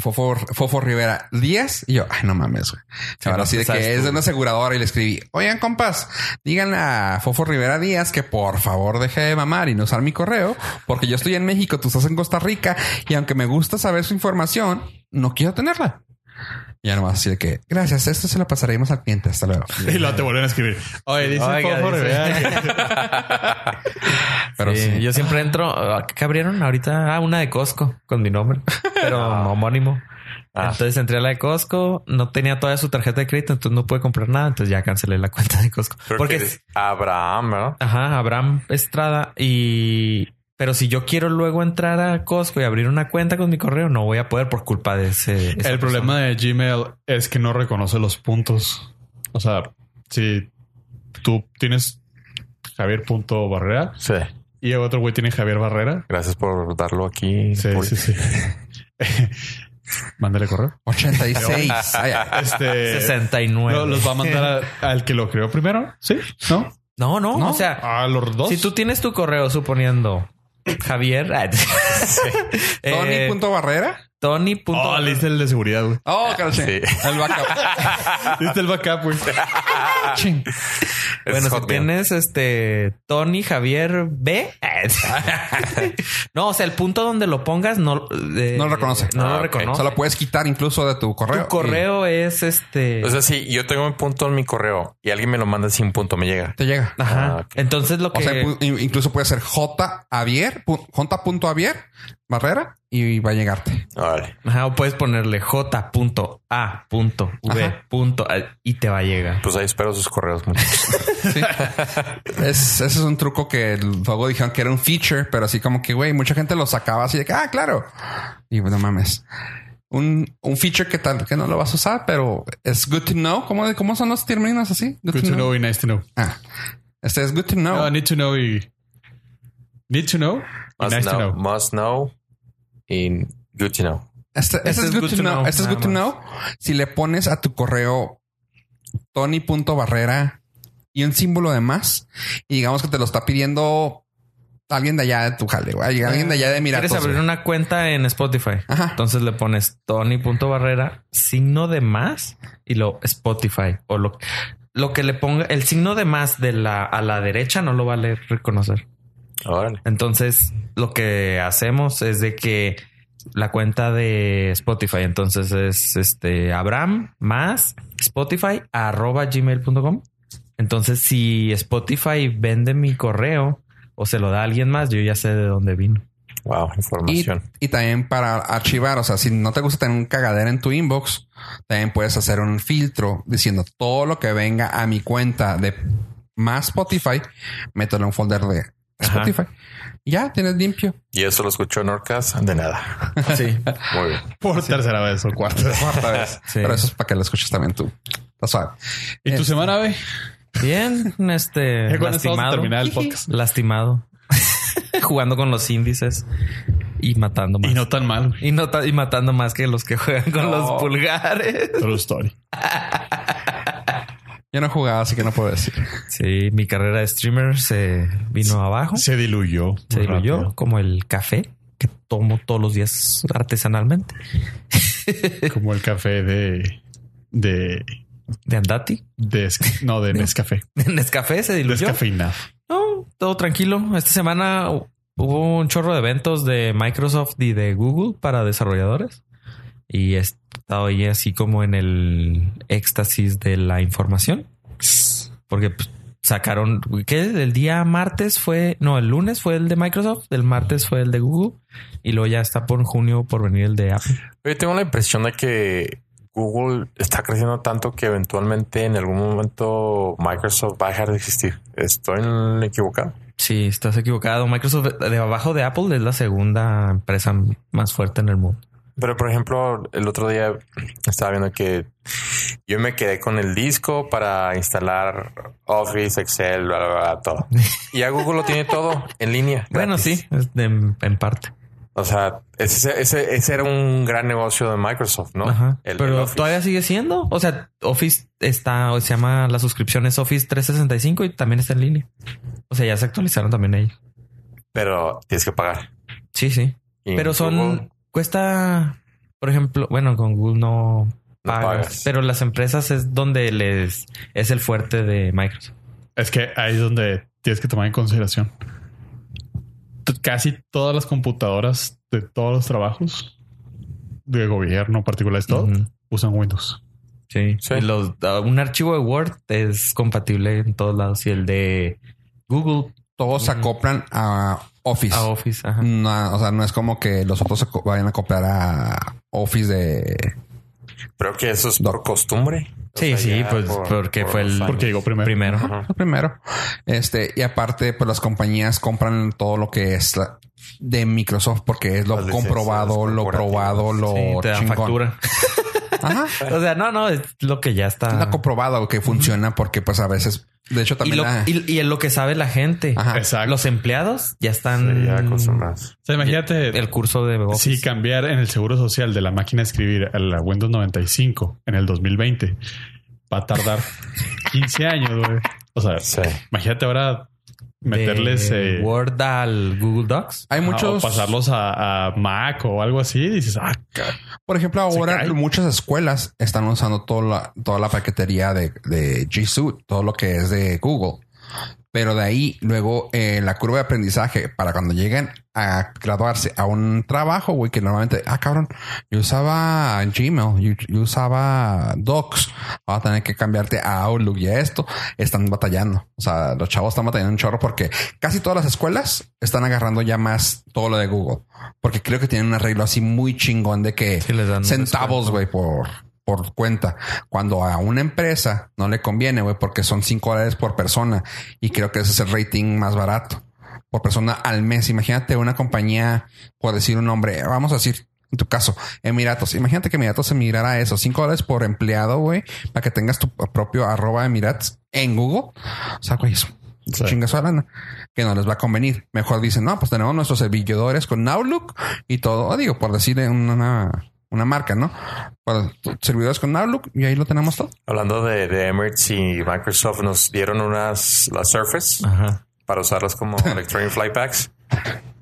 Fofo, Fofo Rivera Díaz. Y yo, ay, no mames, güey. Ahora
no,
sí de
sabes
que es
tú.
de una aseguradora y le escribí, oigan, compas, díganle a Fofo Rivera Díaz que por favor deje de mamar y no usar mi correo, porque yo estoy en México, tú estás en Costa Rica y aunque me gusta saber su información, no quiero tenerla. Y ya nomás así de que, gracias, esto se lo pasaremos al cliente. Hasta luego.
y luego te vuelven a escribir. Oye, dice
Oiga,
Fofo
dice.
Rivera que-
Pero
Sí,
sí.
Yo siempre entro. ah, ¿Qué abrieron ahorita? Ah, una de Costco con mi nombre, pero homónimo.
Ah.
Entonces entré a la de Costco, no tenía todavía su tarjeta de crédito, entonces no pude comprar nada, entonces ya cancelé la cuenta de Costco.
creo
Porque
que es Abraham, ¿verdad?
Ajá, Abraham Estrada. Y. Pero si yo quiero luego entrar a Costco y abrir una cuenta con mi correo, no voy a poder por culpa de ese. esa
El
persona.
problema de Gmail es que no reconoce los puntos. O sea, si tú tienes Javier punto Barrera
Sí.
y el otro güey tiene Javier Barrera.
Gracias por darlo aquí.
Sí,
Por-
sí, sí. Mándale correo.
86. Ay, ay.
Este
69.
lo- los va a mandar a- al que lo creó primero. Sí, no?
No, no,
¿No?
O sea,
A los dos.
si tú tienes tu correo, suponiendo Javier, eh,
Tony.barrera.
Tony. punto-
Oh, le hice el de seguridad, güey.
Oh, caray.
sí.
El backup.
Le hice el backup, güey.
Ching.
Es
Bueno, si
Hotmail.
tienes este Tony Javier B. no, o sea, el punto donde lo pongas no, eh,
No lo reconoce.
No
Ah,
lo
ok.
O
reconoce.
sea, lo puedes quitar incluso de tu correo.
Tu correo es este.
O sea, si yo tengo un punto en mi correo y alguien me lo manda sin punto, me llega.
y Te llega.
Ajá.
Ah, ok.
Entonces lo que.
O sea, pu- in- incluso puede ser J. Javier, pu- J. Javier, barrera, y va a llegarte.
Vale.
Ajá, o puedes ponerle j.a.v.
Ajá.
punto, ah, y te va a llegar.
Pues ahí espero sus correos. muchachos.
Sí. es, ese es un truco que luego dijeron que era un feature, pero así como que, güey, mucha gente lo sacaba así de que, ah, claro. Y bueno, mames. Un, un feature que tal que no lo vas a usar, pero es good to know. ¿Cómo, cómo son los términos así? Good,
Good to know y nice to know.
Ah, este es good to know.
No, need to know y... Need to know y
Must
nice to
know,
know.
must know y good to know.
Este, este es, good, to know. Este es
nada
good to know. Si le pones a tu correo Tony.barrera y un símbolo de más, y digamos que te lo está pidiendo alguien de allá de tu jale, güey. Alguien de allá de
Quieres
Miratos.
abrir
güey.
una cuenta en Spotify.
Ajá.
Entonces le pones Tony.barrera, signo de más y lo Spotify o lo, lo que le ponga el signo de más de la a la derecha no lo vale reconocer.
Órale.
Entonces lo que hacemos es de que la cuenta de Spotify entonces es este Abraham más Spotify arroba gmail.com. Entonces si Spotify vende mi correo o se lo da a alguien más, yo ya sé de dónde vino.
Wow,
Y,
información.
y también para archivar, o sea, si no te gusta tener un cagadero en tu inbox, también puedes hacer un filtro diciendo todo lo que venga a mi cuenta de más Spotify, mételo en un folder de
Ajá.
Spotify. Ya tienes limpio.
Y, eso lo escuchó Norcas. De nada.
Sí.
Muy bien.
Por tercera vez o cuarta.
Cuarta vez.
Sí.
Pero eso es para que lo escuches también tú. Está suave.
¿Y tu
Este.
semana, güey?
Bien, este
Ya con eso vamos a
lastimado.
terminar el podcast.
Lastimado. Jugando con los índices y matando más.
Y no tan mal, güey.
Y no ta- y matando más que los que juegan con
No.
los pulgares.
True story.
Yo no jugaba, así que no puedo decir.
Sí, mi carrera de streamer se vino abajo.
Se diluyó.
Ah. se
muy
diluyó
rápido.
como el café que tomo todos los días artesanalmente
Como el café de... De...
de Andati.
de Esc- no, de Nescafé.
En café se diluyó.
Descafeinado.
No, todo tranquilo. Esta semana hubo un chorro de eventos de Microsoft y de Google para desarrolladores. Y he estado ahí así como en el éxtasis de la información. Porque pues, sacaron, ¿qué? El día martes fue, no, el lunes fue el de Microsoft, el martes fue el de Google. Y luego ya está por junio por venir el de Apple.
Yo tengo la impresión de que Google está creciendo tanto que eventualmente en algún momento Microsoft va a dejar de existir. ¿Estoy en- equivocado?
Sí, estás equivocado. Microsoft de abajo de Apple es la segunda empresa más fuerte en el mundo.
Pero por ejemplo, el otro día estaba viendo que yo me quedé con el disco para instalar Office, Excel, bla, bla, bla, todo. Y ya Google lo tiene todo en línea.
Bueno,
gratis.
sí, es de- en parte.
O sea, ese, ese, ese era un gran negocio de Microsoft, ¿no?
Ajá.
El- el
pero
Office.
todavía sigue siendo. O sea, Office está, o se llama la suscripción es Office 365 y también está en línea. O sea, ya se actualizaron también ellos.
Pero tienes que pagar.
Sí, sí.
Y
Pero son,
Google
cuesta, por ejemplo, bueno, con Google no
no
pagas,
pagas.
pero las empresas es donde les es el fuerte de Microsoft.
Es que ahí es donde tienes que tomar en consideración. T- Casi todas las computadoras de todos los trabajos de gobierno, particulares, todo,
Ujú.
usan Windows.
Sí.
Sí.
Y los- ah, un archivo de Word es compatible en todos lados y el de Google
Todos se acoplan a Office.
a Office. Ajá.
No, o sea, no es como que los otros se co- vayan a acoplar a Office de
Creo que eso es por costumbre. O
Sí, sí,
ya
pues, porque fue el-
los años.
Porque llegó primero.
Primero.
Ajá.
lo primero. Este, y aparte, pues las compañías compran todo lo que es la- de Microsoft porque es lo
Las licencias
comprobado, lo
corporativas.
probado, lo
Sí, te dan
chingón.
factura.
Ajá.
O sea, no, no, es lo que ya está.
Está comprobado que funciona porque, pues a veces, de hecho,
Ah. y,
también
lo,
la-
y, y es lo que sabe la gente.
Ajá.
Exacto.
Los empleados ya
Sí,
están
ya acostumbrados.
O sea, imagínate
el curso de
si
Office.
cambiar en el seguro social de la máquina de escribir a la Windows 95 en el 2020 va a tardar 15 años. güey. O sea,
Sí.
imagínate ahora meterles
De
eh,
Word al Google Docs.
Hay
ajá,
muchos.
o pasarlos a, a Mac o algo así. y dices, ah, ca-
Por ejemplo,
Se
ahora
cae.
muchas escuelas están usando toda la, toda la paquetería de, de G Suite, todo lo que es de Google. Pero de ahí, luego, eh, la curva de aprendizaje para cuando lleguen a graduarse a un trabajo, güey, que normalmente, ah, cabrón, yo usaba Gmail, yo, yo usaba Docs, va a tener que cambiarte a Outlook y a esto. Están batallando. O sea, los chavos están batallando un chorro porque casi todas las escuelas están agarrando ya más todo lo de Google. Porque creo que tienen un arreglo así muy chingón de que
Sí, les dan un
centavos, güey, por, por cuenta. Cuando a una empresa no le conviene, güey, porque son cinco dólares por persona y creo que ese es el rating más barato por persona al mes. Imagínate una compañía, por decir un nombre, vamos a decir, en tu caso, Emiratos. Imagínate que Emiratos se migrara a eso, cinco dólares por empleado, güey, para que tengas tu propio arroba Emiratos en Google. O sea, güey, es
Sí.
chingas a lana que no les va a convenir. Mejor dicen, no, pues tenemos nuestros servidores con Outlook y todo. Ah, Digo, por decir una, una marca, ¿no? Por- servidores con Outlook y ahí lo tenemos todo.
Hablando de, de Emirates y Microsoft, nos dieron unas, las Surface
Ajá.
para usarlas como Electronic Flight Packs.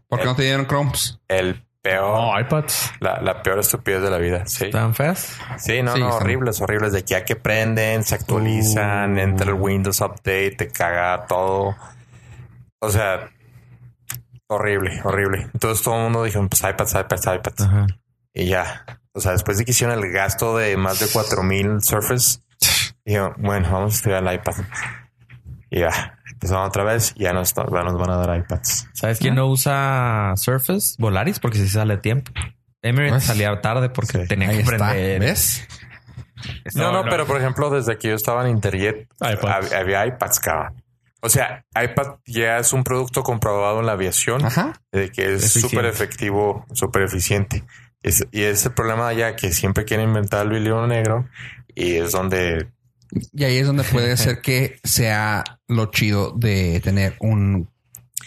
Porque no te dieron Chromes.
El peor,
no, iPads.
la, la peor estupidez de la vida. Sí,
¿Están feas?
sí no,
Sí,
no,
están-
horribles, horribles. De que ya que prenden, se actualizan, entra el Windows Update, te caga todo. O sea, horrible, horrible. Entonces todo el mundo dijo, pues iPads, iPads, iPads.
Ajá.
Y ya. O sea, después de que hicieron el gasto de más de 4000 Surface, dijeron, bueno, vamos a estudiar el iPad. Y ya. Empezaron otra vez y ya nos, ya nos van a dar iPads.
¿Sabes quién no usa Surface? Volaris, porque si sale a tiempo. Emirates
Pues,
salía tarde porque
sí.
tenía
Ahí
que
está.
prender.
¿Ves?
No, no,
no.
pero por ejemplo, desde que yo estaba en Interjet,
iPads.
hab- había iPads, cabrón. O sea, iPad ya es un producto comprobado en la aviación
Ajá.
de que es
Eficiente.
súper efectivo, súper eficiente. Es- y es el problema ya que siempre quieren inventar el hilo negro y es donde
Y ahí es donde puede ser que sea lo chido de tener un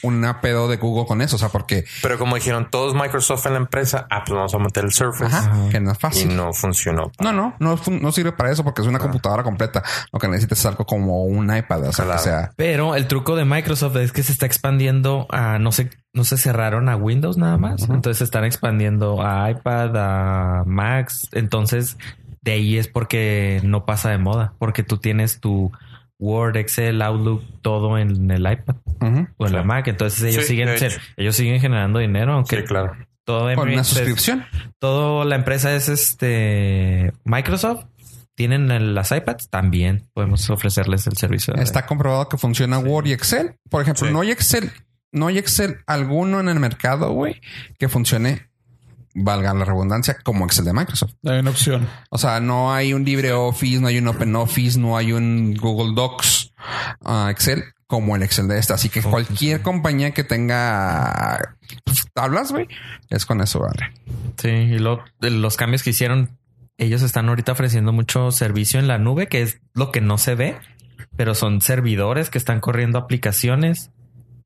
una pedo de Google con eso. O sea, porque
Pero como dijeron todos Microsoft en la empresa, ah, pues vamos a meter el Surface.
ajá, que no es
Y
fácil.
no Ah. funcionó.
No, no, no, fun- no sirve para eso porque es una computadora completa. Lo que necesitas es algo como un iPad, o sea,
Claro.
que sea
Pero el truco de Microsoft es que se está expandiendo a no se, no se cerraron a Windows nada más.
Ujú.
Entonces se están expandiendo a iPad, a Macs. Entonces de ahí es porque no pasa de moda, porque tú tienes tu Word, Excel, Outlook, todo en el iPad
ujú,
o en la
Claro.
Mac. Entonces ellos
Sí,
siguen,
de hecho.
se- ellos siguen generando dinero, aunque
Sí, claro.
todo
con una
Emirates es-
suscripción.
todo la empresa es este Microsoft. Tienen el- las iPads también. Podemos ofrecerles el servicio. de-
Está comprobado que funciona Word y Excel. Por ejemplo,
Sí.
no hay Excel, no hay Excel alguno en el mercado, güey, que funcione, valga la redundancia, como Excel de Microsoft.
Hay una opción.
O sea, no hay un LibreOffice, no hay un OpenOffice, no hay un Google Docs, ah, Excel como el Excel de esta. Así que cualquier compañía que tenga pues, tablas, güey, es con eso, vale.
Sí, y lo- de los cambios que hicieron, ellos están ahorita ofreciendo mucho servicio en la nube, que es lo que no se ve, pero son servidores que están corriendo aplicaciones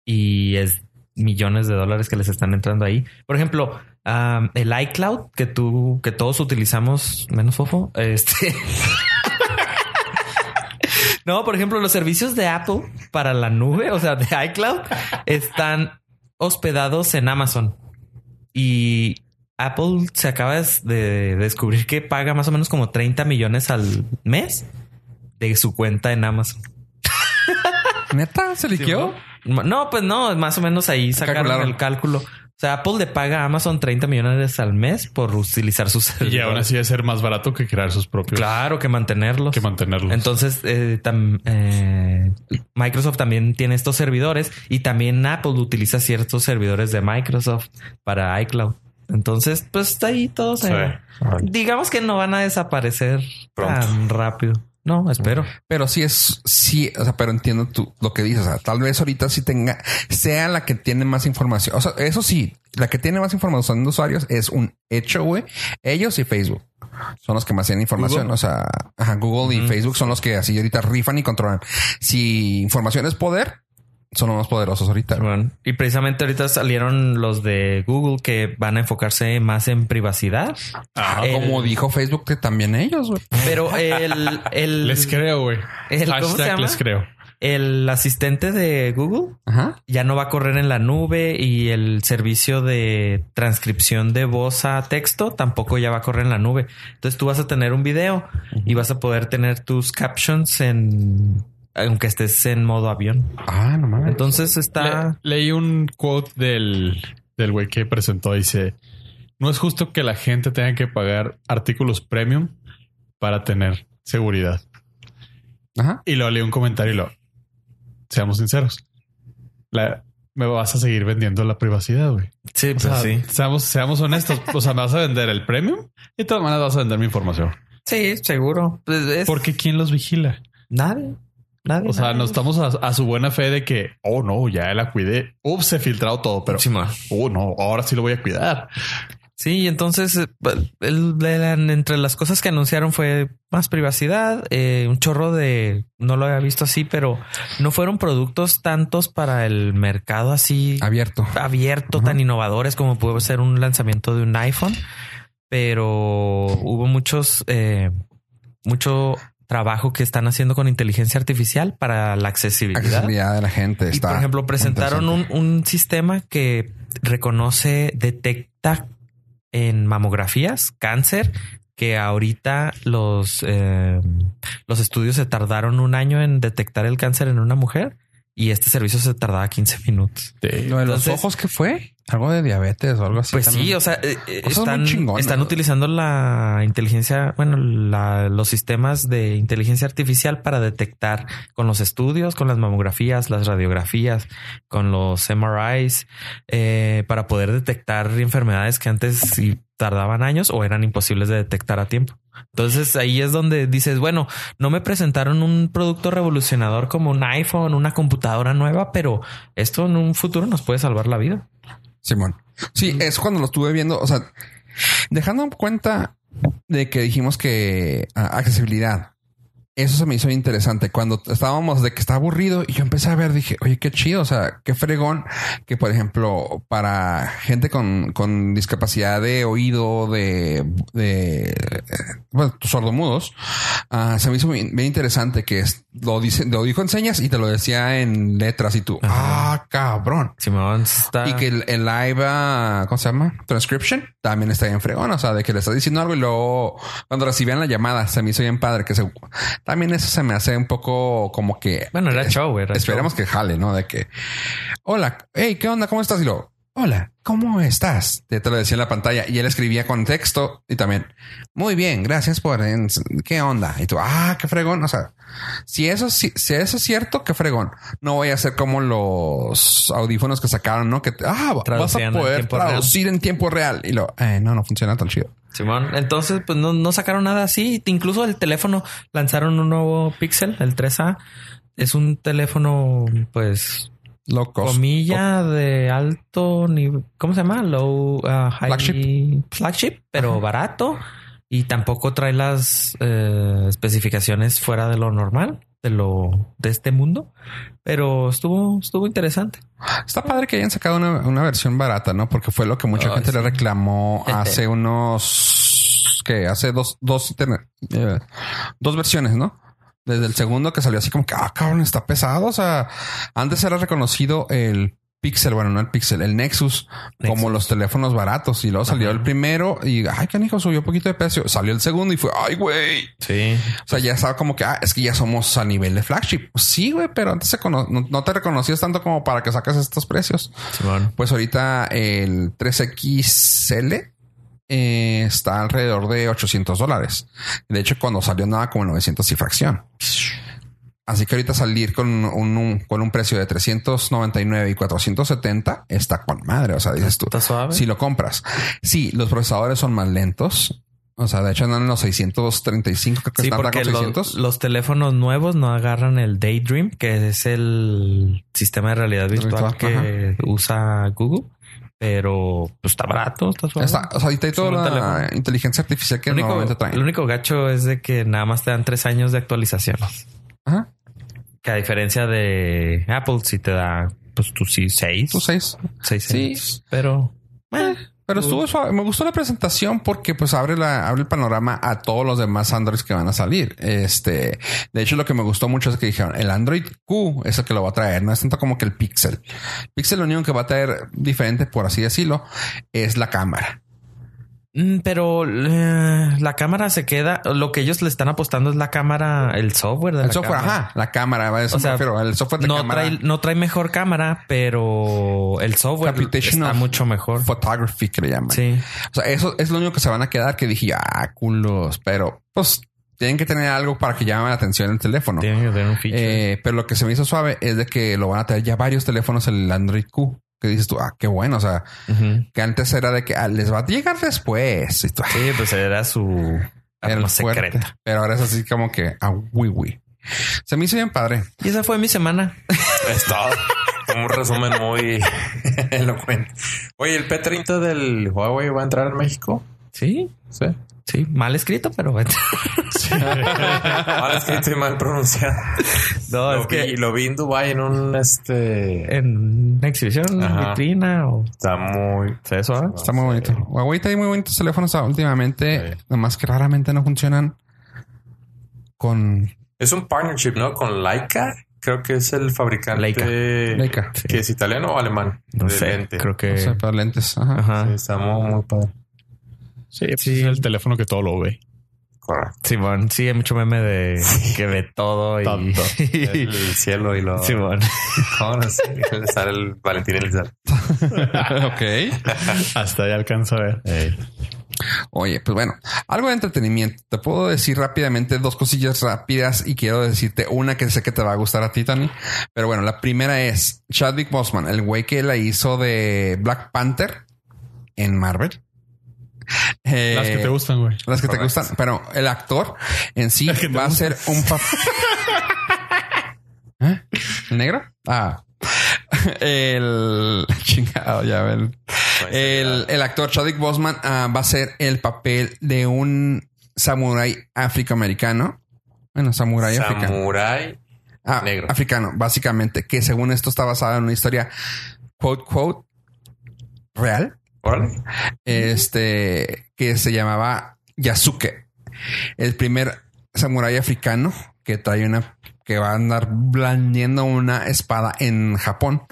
y es millones de dólares que les están entrando ahí. Por ejemplo, am, el iCloud que tú, que todos utilizamos, menos fofo, este. No, por ejemplo, los servicios de Apple para la nube, o sea, de iCloud, están hospedados en Amazon. Y Apple se acaba des- de descubrir que paga más o menos como 30 millones al mes de su cuenta en Amazon.
Neta, se liqueó.
No, pues no, más o menos ahí sacaron
Calcularon.
el cálculo. O sea, Apple le paga a Amazon 30 millones al mes por utilizar
Y
sus
aún
servidores.
así es ser más barato que crear sus propios.
Claro que mantenerlos.
Que mantenerlos.
Entonces, eh, tam- eh, Microsoft también tiene estos servidores y también Apple utiliza ciertos servidores de Microsoft para iCloud. Entonces, pues está ahí todo se...
Sí.
Digamos que no van a desaparecer
Pronto.
tan rápido. No, espero.
Pero sí es, sí, o sea, pero entiendo tú lo que dices. O sea, tal vez ahorita sí tenga, sea la que tiene más información. O sea, eso sí, la que tiene más información de usuarios es un hecho, güey. Ellos y Facebook son los que más tienen información. O sea, ajá, Google y
Ujú.
Facebook son los que así ahorita rifan y controlan. Si información es poder, son los más poderosos ahorita. güey.
Bueno, y precisamente ahorita salieron los de Google que van a enfocarse más en privacidad.
Ah,
el-
como dijo Facebook, que también ellos, güey.
Pero el, el,
les creo, güey.
el- ¿cómo se
Hashtag
llama?
les creo.
el asistente de Google
Ajá.
ya no va a correr en la nube y el servicio de transcripción de voz a texto tampoco ya va a correr en la nube. Entonces tú vas a tener un video y vas a poder tener tus captions en aunque estés en modo avión.
Ah, no mames.
Entonces está
Le- leí un quote del del güey que presentó. Dice: No es justo que la gente tenga que pagar artículos premium para tener seguridad.
Ajá.
Y lo leí un comentario y lo. Seamos sinceros. La, me vas a seguir vendiendo la privacidad, güey.
Pues sí,
O sea, seamos, seamos honestos. O sea, me vas a vender el premium y de todas maneras vas a vender mi información.
Sí, seguro. Pues es
Porque quién los vigila?
nadie, nadie.
O sea,
nadie.
no estamos a, a su buena fe de que, oh no, ya la cuidé. Ups, se filtrado todo, pero
Sí, ma.
oh no, ahora sí lo voy a cuidar.
Sí, entonces eh, el- de la- entre las cosas que anunciaron fue más privacidad, eh, un chorro de, no lo había visto así, pero no fueron productos tantos para el mercado así
Abierto.
abierto,
Ajá.
tan innovadores como pudo ser un lanzamiento de un iPhone, pero hubo muchos, eh, mucho trabajo que están haciendo con inteligencia artificial para la accesibilidad.
Accesibilidad de la gente.
Y
Está
por ejemplo, presentaron un, un sistema que reconoce, detecta en mamografías cáncer que ahorita los, eh, los estudios se tardaron un año en detectar el cáncer en una mujer y este servicio se tardaba 15 minutos.
Lo de los
Entonces-
ojos, ¿qué fue? Algo de diabetes o algo así.
Pues sí,
también.
o sea, eh, eh,
Cosas muy
están,
chingonas,
están
güey.
utilizando la inteligencia, bueno, la- los sistemas de inteligencia artificial para detectar con los estudios, con las mamografías, las radiografías, con los MRIs, eh, para poder detectar enfermedades que antes sí tardaban años o eran imposibles de detectar a tiempo. Entonces ahí es donde dices, bueno, no me presentaron un producto revolucionador como un iPhone, una computadora nueva, pero esto en un futuro nos puede salvar la vida.
Simón. Sí, es cuando lo estuve viendo. O sea, dejando en cuenta de que dijimos que ah, accesibilidad. Eso se me hizo interesante. Cuando estábamos de que está aburrido y yo empecé a ver, dije, oye, qué chido. O sea, qué fregón que, por ejemplo, para gente con, con discapacidad de oído, de, de eh, bueno, sordomudos, ah, se me hizo bien, bien interesante que es- lo dice, lo dijo en señas y te lo decía en letras y tú,
Ajá.
ah, cabrón.
Simón está.
Y que el, el live, ah, ¿cómo se llama? Transcription también está bien fregón. O sea, de que le estás diciendo algo y luego cuando recibían la llamada se me hizo bien padre. Que se, también eso se me hace un poco como que
Bueno, era show, era
esperemos
show.
que jale, ¿no? De que, hola, hey, ¿qué onda? ¿Cómo estás? Y lo, hola, ¿cómo estás? Te, te lo decía en la pantalla y él escribía con texto y también, muy bien, gracias por, en- ¿qué onda? Y tú, ah, qué fregón. O sea, si eso, si, si eso es cierto, qué fregón. No voy a hacer como los audífonos que sacaron, ¿no? Que, te- ah, vas a
Traducían en
poder
tiempo real.
traducir en tiempo real. Y lo, eh, no, no funciona tan chido.
Simón, entonces pues no, no sacaron nada así. Incluso el teléfono lanzaron un nuevo Pixel, el 3A. Es un teléfono, pues,
Locos.
comilla de alto nivel. ¿Cómo se llama? Low, ah, high-
Flagship.
flagship, pero barato. Y tampoco trae las eh, especificaciones fuera de lo normal, de lo de este mundo. Pero estuvo, estuvo interesante.
Está padre que hayan sacado una, una versión barata, ¿no? Porque fue lo que mucha
Ay,
gente
sí. Este.
le reclamó hace unos que hace dos, dos, interne- eh, dos versiones, ¿no? Desde el segundo que salió así como que, ah, cabrón, está pesado. O sea, antes era reconocido el Pixel, bueno, no el Pixel, el Nexus, como
Nexus.
los teléfonos baratos. Y luego salió
Ajá.
el primero y, ay, canijo, subió un poquito de precio. Salió el segundo y fue, ay, güey.
Sí.
O sea, ya estaba como que, ah, es que ya somos a nivel de flagship. Pues Sí, güey, pero antes se cono- no, no te reconocías tanto como para que sacas estos precios.
Simón.
Pues ahorita el 3XL eh, está alrededor de 800 dólares. De hecho, cuando salió andaba como 900 y fracción. Así que ahorita salir con un, un- con un precio de 399 y 470 está con madre. O sea, dices tú,
Está suave.
si lo compras. Sí, los procesadores son más lentos. O sea, de hecho andan en los 635, creo que
Sí,
están ahora
porque
con
lo-
600.
los teléfonos nuevos no agarran el Daydream, que es el sistema de realidad virtual
Virtual,
que usa Google, pero pues, está barato, está suave.
Está- o sea, ahorita hay
Es un
toda la
buen teléfono.
inteligencia artificial que
lo, único,
normalmente traen.
lo único gacho es de que nada más te dan tres años de actualizaciones.
Ajá.
Que a diferencia de Apple, si te da, pues tú sí, seis.
Tú seis.
seis
Sí.
años. Pero eh,
Pero estuvo suave. Me gustó la presentación porque pues abre la, abre el panorama a todos los demás Androids que van a salir. Este, de hecho, lo que me gustó mucho es que dijeron el Android Q es el que lo va a traer. No es tanto como que el Pixel. Pixel lo único que va a traer diferente, por así decirlo, es la cámara.
Mm, Pero eh, la cámara se queda. Lo que ellos le están apostando es la cámara, el software de
El
la
software,
cámara.
ajá, la cámara. a Eso
O
me
sea,
refiero, El software de
No
cámara.
trae, no trae mejor cámara, pero el software
Computational
está mucho mejor.
Photography que le llaman.
Sí.
O sea, eso es lo único que se van a quedar que dije, ah, culos, pero pues tienen que tener algo para que llame la atención el teléfono.
Tiene que tener un feature.
Eh, pero lo que se me hizo suave es de que lo van a tener ya varios teléfonos el Android Q. Que dices tú, ah, qué bueno. O sea,
Ujú.
que antes era de que ah, les va a llegar después. Y tú, ah,
Sí, pues era su
era
arma
el fuerte.
secreta.
Pero ahora es así como que a wi wi. Se me hizo bien padre.
Y esa fue mi semana.
Es todo. Un resumen muy elocuente. Oye, ¿el P30 del Huawei va a entrar en México?
Sí,
Sí.
sí, mal escrito, pero bueno.
Ahora es que estoy mal pronunciado.
No,
lo,
es que
vi, lo vi en Dubai en un este.
en una exhibición,
Ajá.
vitrina o
Está muy.
¿se ve suave?
Está muy bonito. Huawei tiene muy bonitos teléfonos ah, últimamente, nomás que raramente no funcionan con
Es un partnership, ¿no? Con Leica. Creo que es el fabricante.
Leica.
Leica.
Que es italiano o alemán.
No
de
sé,
lente.
creo que
o sea, para lentes. Ajá.
ajá.
Sí, está muy, muy padre.
Sí, pues
Sí.
es el teléfono que todo lo ve.
Correcto.
Simón, sí, hay mucho meme de que ve todo y
Tanto.
El cielo y lo.
Simón.
¿Cómo no sé? Le sale el Valentín Elizalde.
ok.
Hasta ahí alcanza a ver.
Oye, pues bueno, algo de entretenimiento. Te puedo decir rápidamente dos cosillas rápidas y quiero decirte una que sé que te va a gustar a ti, Tony. Pero bueno, la primera es Chadwick Boseman, el güey que la hizo de Black Panther en Marvel. Eh,
Las que te gustan, güey.
Las que te
Correcto.
gustan, pero el actor en sí
Las que te
va a ser un papel. ¿El negro? Ah. El chingado, ya ven. El, el actor Chadwick Boseman ah, va a ser el papel de un samurái afroamericano. Bueno, samurái africano.
Samurai.
Ah,
negro.
Africano, básicamente, que según esto está basado en una historia quote, quote, real
Órale.
este que se llamaba Yasuke, el primer samurái africano que trae una que va a andar blandiendo una espada en Japón.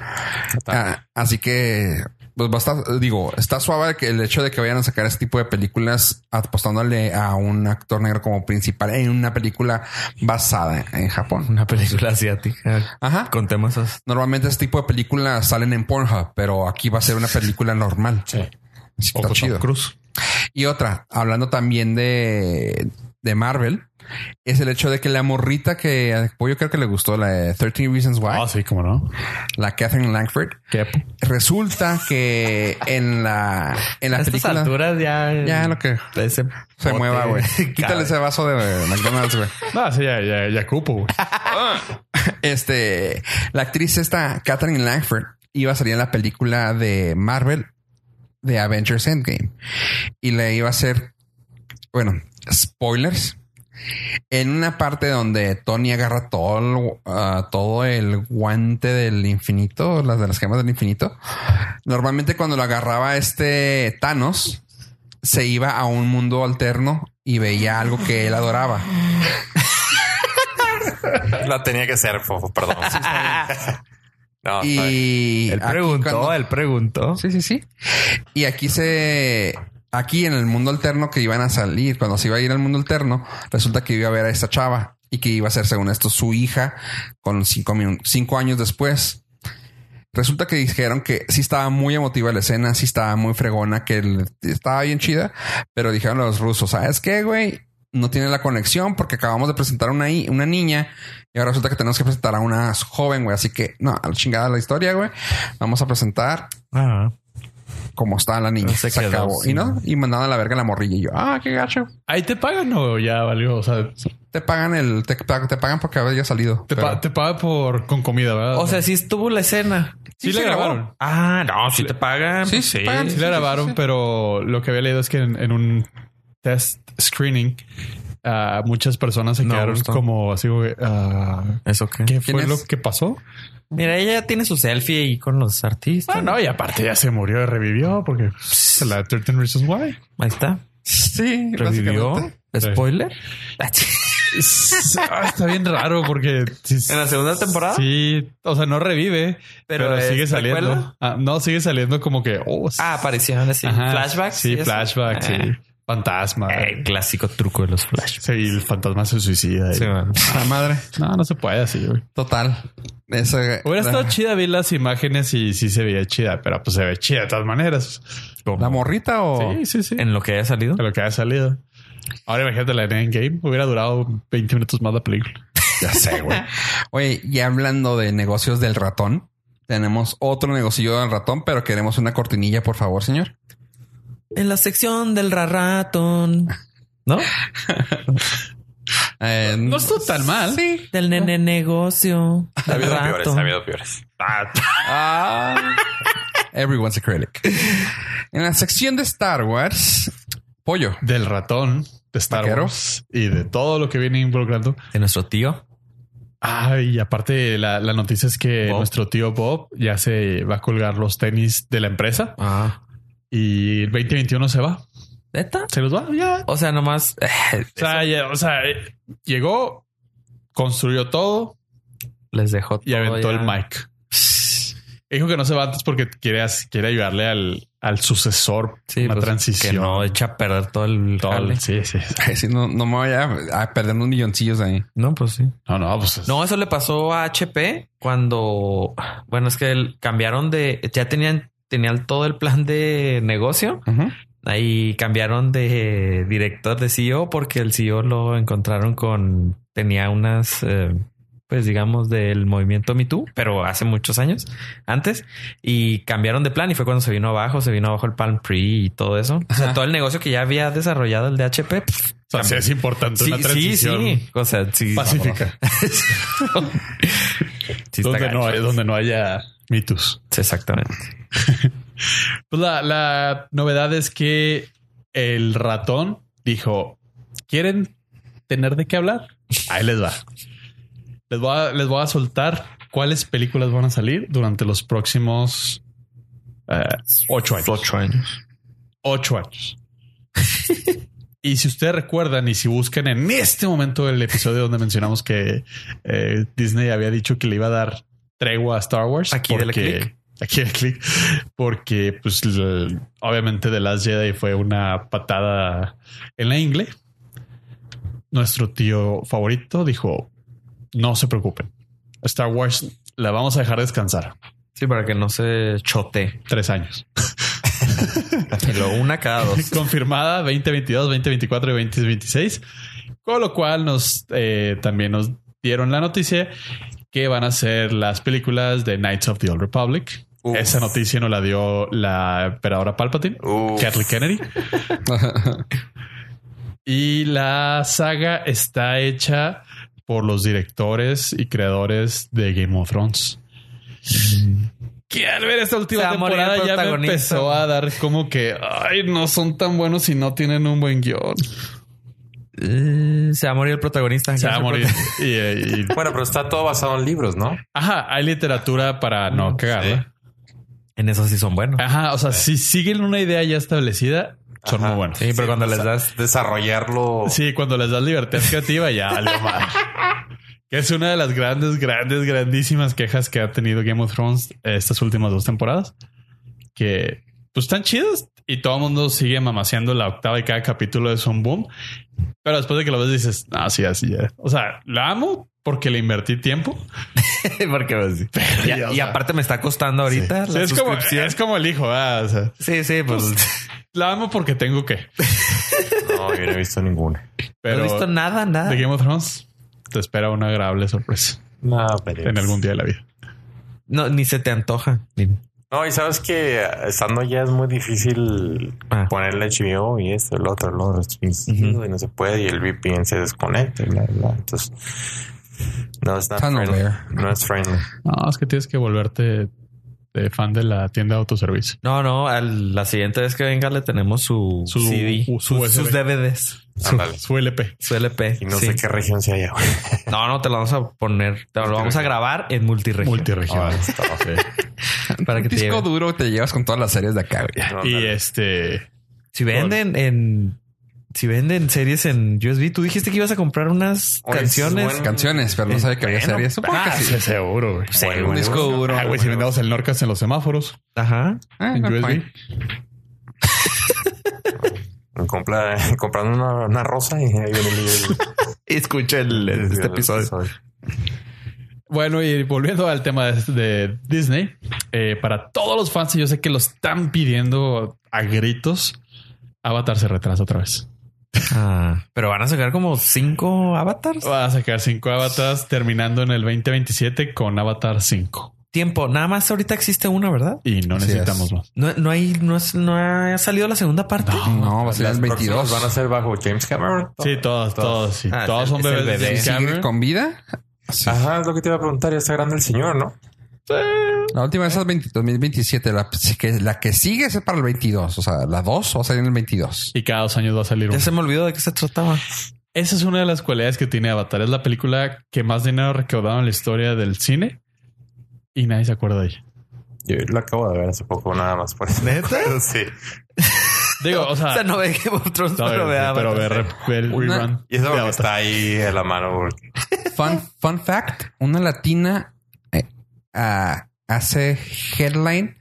Ah, así que pues va a estar- digo, está suave que el hecho de que vayan a sacar este tipo de películas apostándole a un actor negro como principal en una película basada en Japón.
Una película asiática
Ajá.
con temas as-
Normalmente este tipo de películas salen en Pornhub, pero aquí va a ser una película normal.
Sí.
Así que está
Ojo, Tom
chido.
Cruise.
Y otra, hablando también de, de Marvel, es el hecho de que la morrita que al pollo creo que le gustó, la de 13 Reasons Why,
Ah, sí, cómo no.
la Catherine Langford,
Qué
resulta que en la, en la
a estas
película
alturas ya
Ya, lo que-
ese
se
bote
mueva, güey.
cabe.
Quítale ese vaso de McDonald's, güey.
No, sí, ya, ya, ya cupo, güey.
Este, la actriz esta, Catherine Langford, iba a salir en la película de Marvel de Avengers Endgame y le iba a hacer, bueno, spoilers. En una parte donde Tony agarra todo el, ah, todo el guante del infinito, las de las gemas del infinito, normalmente cuando lo agarraba este Thanos, se iba a un mundo alterno y veía algo que él adoraba.
La tenía que ser, fofo, perdón. no, está bien.
Y
él
aquí
preguntó,
cuando-
él preguntó.
Sí, sí, sí. Y aquí se. Aquí en el mundo alterno que iban a salir, cuando se iba a ir al mundo alterno, resulta que iba a ver a esta chava y que iba a ser, según esto, su hija con cinco, minu- cinco años después. Resulta que dijeron que sí estaba muy emotiva la escena, sí estaba muy fregona, que el- estaba bien chida, pero dijeron los rusos, ¿sabes qué, güey? No tiene la conexión porque acabamos de presentar una, hi- una niña y ahora resulta que tenemos que presentar a una joven, güey. Así que, no, a la chingada la historia, güey. Vamos a presentar
Ah,
como está la niña.
Se
Se,
quedó
acabó.
sin-
Y no, y mandaban a la verga la morrilla. Y yo, ah, qué gacho.
Ahí te pagan o ya valió. O sea,
Te pagan el, te, pa- te pagan porque había salido.
te,
Pero-
pa- te pagan por con comida, ¿verdad?
o sea, sí estuvo la escena.
sí,
sí
le
se grabó.
grabaron.
Ah, no, si te pagan.
Sí,
pues
sí, pagan.
Sí la grabaron,
sí.
pero lo que había leído es que en, en un test screening ah, muchas personas se
No,
quedaron
justo.
como así, güey, ah,
¿Eso qué?
¿qué
¿Quién
fue
es?
lo que pasó?
Mira, ella tiene su selfie ahí con los artistas.
Ah, no, y aparte ya se murió y revivió porque se la 13 Reasons Why.
Ahí está.
Sí,
Revivió.
básicamente.
Spoiler.
Ah, está bien raro porque sí-
¿En la segunda temporada?
Sí, o sea, no revive,
Pero
pero,
es
sigue
secuela.
saliendo. Ah, no, sigue saliendo como que oh,
Ah, apariciones, así.
ajá,
flashbacks. y
Sí,
eso.
flashbacks, sí.
Ah.
Fantasma.
Eh, clásico truco de los flashbacks.
Sí, y el fantasma se suicida. y-
Sí, man.
La madre.
No, no se puede así, güey. Ah.
Total. Esa,
Hubiera
la,
estado chida, vi las imágenes y sí se veía chida, pero pues se ve chida de todas maneras. Oh.
¿La morrita o...?
Sí, sí, sí.
En lo que haya salido.
De lo que haya salido. Ahora imagínate la de Endgame. Hubiera durado 20 minutos más la película.
Ya sé, güey. Oye, y hablando de negocios del ratón, tenemos otro negocio del ratón, pero queremos una cortinilla, por favor, señor.
En la sección del raratón. ¿No?
Eh,
No estuvo tan mal.
Sí.
Del nene negocio.
Ha
del
habido
rato.
peores, ha habido peores.
Ah. everyone's a critic. En la sección de Star Wars, pollo.
Del ratón de Star
Vaquero.
Wars y de todo lo que viene involucrando.
De nuestro tío.
Ay, Ah, y aparte la, la noticia es que
Bob.
nuestro tío Bob ya se va a colgar los tenis de la empresa
Ah.
y el 2021 se va.
¿Neta?
Se los va, ya.
O sea, nomás. eh,
O sea, ya- o sea, eh, llegó, construyó todo
Les dejó
y aventó
ya.
el mic. Dijo que no se va antes porque quiere, as- quiere ayudarle al, al sucesor
Sí,
una
pues,
transición.
Que no echa a perder todo el.
Todo el-
jale.
sí, sí. sí.
Ay, sí, no, no me voy a, a perder unos milloncillos ahí.
No, pues sí.
No, no, pues
No, eso le pasó a HP cuando, bueno, es que el- cambiaron de, ya tenían, tenían todo el plan de negocio. Ahí cambiaron de director de CEO porque el CEO lo encontraron con, tenía unas, eh, pues digamos, del movimiento Me Too, pero hace muchos años antes. Y cambiaron de plan y fue cuando se vino abajo, se vino abajo el Palm Pre y todo eso. O sea,
Ajá.
todo el negocio que ya había desarrollado el de HP. pff,
o sea, sí es importante
Sí,
una
sí,
transición
sí. O sea, sí.
pacífica
Sí, está
donde no,
gacho.
hay- donde no haya mitos.
Sí, Exactamente.
Pues la, la novedad es que el ratón dijo: ¿Quieren tener de qué hablar? Ahí les va. Les voy a, les voy a soltar cuáles películas van a salir durante los próximos eh, ocho años.
Ocho años.
Ocho años. y si ustedes recuerdan y si buscan en este momento el episodio donde mencionamos que eh, Disney había dicho que le iba a dar tregua a Star Wars.
Aquí del click.
Aquí del click. Porque, pues, l- obviamente The Last Jedi fue una patada en la ingle. Nuestro tío favorito dijo, no se preocupen. Star Wars la vamos a dejar descansar.
Sí, para que no se chote.
Tres años.
Y luego una cada dos.
confirmada 2022, 2024 y 2026. Con lo cual nos eh, también nos dieron la noticia que van a ser las películas de Knights of the Old Republic.
Uf.
Esa noticia nos la dio la emperadora Palpatine,
Uf.
Kathleen Kennedy. Y la saga está hecha por los directores y creadores de Game of Thrones. Que al ver esta
Se
última
va a morir el
temporada ya me
protagonista.
empezó a dar como que, ay, no son tan buenos si no tienen un buen guión.
Eh, se va a morir el protagonista.
Se va a morir. Y, eh, y-
Bueno, pero está todo basado en libros, ¿no?
ajá, hay literatura para no cagarla.
En eso sí son buenos.
Ajá, o sea, si siguen una idea ya establecida, son
Ajá.
muy buenos.
Sí, pero cuando
o
les
sea,
das.
Desarrollarlo.
Sí, cuando les das libertad creativa, ya valió madre. Que es una de las grandes, grandes, grandísimas quejas que ha tenido Game of Thrones estas últimas dos temporadas. Que pues están chidas y todo el mundo sigue mamaseando la octava y cada capítulo es un boom. Pero después de que lo ves, dices, ah, sí, así ya. O sea, la amo porque le invertí tiempo.
Porque pues, sí.
ya,
y,
o
y
sea,
aparte me está costando ahorita
Sí,
la
es, como,
suscripción.
es como el hijo. ah, o sea,
Sí, sí, pues.
la amo porque tengo que.
No, yo no he visto ninguna.
Pero
no he visto nada, nada.
de Game of Thrones te espera una agradable sorpresa
No, pero.
en algún día de la vida.
No, ni se te antoja. Ni-
No, y sabes que estando ya es muy difícil
Ah.
ponerle HBO y esto, el otro, el otro restringido y no se puede y el VPN se desconecta y bla, bla. Entonces, no es not
Tunnel
friendly.
bear.
No es friendly.
No, es que tienes que volverte de fan de la tienda de autoservicio.
No, no. al- la siguiente vez que venga le tenemos su,
Su-
CD,
su
sus-
USB.
sus DVDs.
Su,
Ándale.
su LP.
Su LP.
Y no
sí.
sé qué región sea allá. güey.
No, no, te lo vamos a poner. Te lo vamos a grabar en multiregión.
Multiregional.
Para que
Un
te
disco
lleve.
duro te llevas con todas las series de acá, güey.
No,
y
ándale.
este
Si venden en. Si venden series en USB, tú dijiste que ibas a comprar unas
Oye,
canciones.
bueno.
Canciones, pero no sabía que había
Bueno,
series. Supongo
ah,
que sí.
sí, seguro. güey.
Sí,
Un
Pues bueno,
disco duro.
Ah, güey, si vendamos el Norcas en los semáforos
Ajá.
Ah,
en
no,
USB.
fine.
Compra, comprando una, una rosa y ahí viene el-
Escucha
el-
este
el
episodio.
Bueno, y volviendo al tema de, de Disney, eh, para todos los fans, yo sé que lo están pidiendo a gritos. Avatar se retrasa otra vez.
Ah, pero van a sacar como cinco avatars.
Va a sacar cinco avatars terminando en el 2027 con Avatar 5
Tiempo. Nada más ahorita existe una, ¿verdad?
y no
Así
necesitamos
es.
más.
No, no hay, no, es- no ha salido la segunda parte.
No, va a ser
Las
el 22.
próximas Van a ser bajo James Cameron.
Sí, todos, todos, sí.
Ah,
todos
es-
son
es el
bebés de
bebé.
James
¿Sigue
Cameron.
con vida?
Ajá, es lo que te iba a preguntar. Ya está grande el señor, ¿no?
La última es el 20 2027. La que, la que sigue es para el 22. O sea, la 2 va a salir en el 22.
Y cada dos años va a salir
Ya
uno.
se me olvidó de qué se trataba.
Esa es una de las cualidades que tiene Avatar. Es la película que más dinero ha recaudado en la historia del cine y nadie se acuerda de ella.
Yo lo acabo de ver hace poco, nada más. Por eso.
¿Neta?
Sí.
Digo, o sea,
O sea, no ve Game of Thrones,
no,
pero ve Avatar.
pero ve re- el
Una-
rerun.
Y eso está ahí a la mano. porque-
Fun, fun fact: una latina eh, ah, hace headline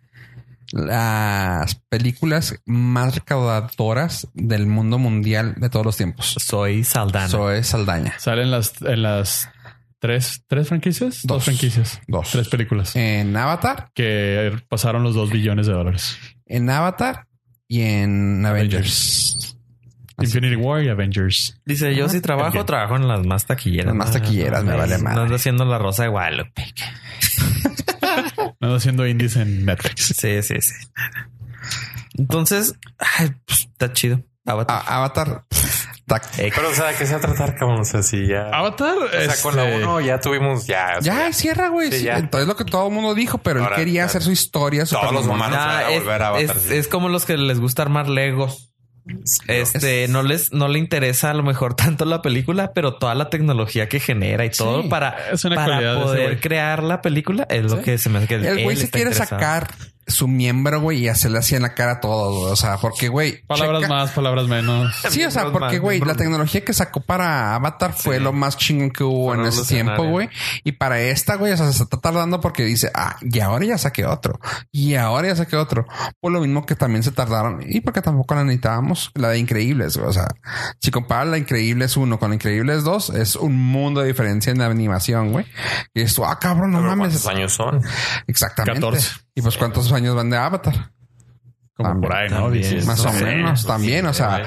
las películas más recaudadoras del mundo mundial de todos los tiempos.
Soy Saldana.
Eso es Saldaña.
Salen las, en las tres, tres franquicias, dos,
Dos.
franquicias,
Dos.
tres películas
En Avatar,
que pasaron los dos billones de dólares.
en Avatar y en Avengers. Así.
Infinity War y Avengers.
Dice, yo
Ah,
si trabajo,
Entiendo.
trabajo en las más taquilleras.
Las más taquilleras, me
no,
vale
no,
madre.
No ando haciendo la rosa de Guadalupe.
No haciendo indies en Netflix.
Sí, sí, sí. Entonces, ay, pues, está chido. Avatar.
Ah, Avatar. Tac.
Eh,
Pero, o sea, ¿qué se va a tratar, cabrón? O sea, si ya.
Avatar.
o sea, con la
este,
1 ya tuvimos ya. o sea,
Ya, cierra, güey.
Sí,
Sí,
ya.
Entonces lo que todo el mundo dijo, pero
Ahora,
él quería
ya.
hacer su historia.
Todos
super
los
mamón.
humanos. Ah, van a
es,
volver a Avatar,
es-
sí.
es como los que les gusta armar Legos. Este no les no le interesa a lo mejor tanto la película, pero toda la tecnología que genera y todo para,
es una cualidad de
para
ese
poder
güey.
crear la película es lo
Sí.
que se me hace que
El güey
él
se
está
quiere
interesado.
sacar su miembro, güey, y hacerle así en la cara a todos. güey. O sea, porque, güey.
Palabras
checa-
más, palabras menos.
Sí, o sea,
Miembros
porque,
más,
güey, la
miembros
tecnología que sacó para Avatar fue lo más chingón que hubo en ese
revolucionaria.
tiempo, güey. Y para esta, güey, o sea, se está tardando porque dice, ah, y ahora ya saqué otro. Y ahora ya saqué otro. Por lo mismo que también se tardaron. Y porque tampoco la necesitábamos, la de Increíbles, güey. O sea, si comparas la Increíbles 1 con la Increíbles 2, es un mundo de diferencia en la animación, güey. Y esto, ah, cabrón, no
Pero
mames.
¿Cuántos años son?
Exactamente.
14.
Y pues, ¿cuántos años van de Avatar?
Como
También,
por ahí, ¿no?
también.
Dices,
Más
no
o
sé.
menos también. O sea,
eh.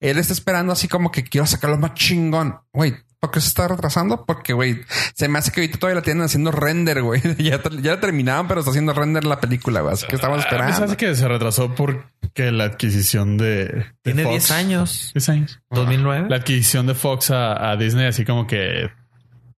él está esperando así como que quiero sacarlo más chingón. Güey, ¿por qué se está retrasando? Porque, güey, se me hace que ahorita todavía la tienen haciendo render, güey. ya, ter- ya la terminaron, pero está haciendo render la película, güey. Así que estamos
A mí se
esperando.
hace que se retrasó porque la adquisición de, de
Tiene
Fox-
10 años.
10
Ah.
años.
2009.
La adquisición de Fox a, a Disney, así como que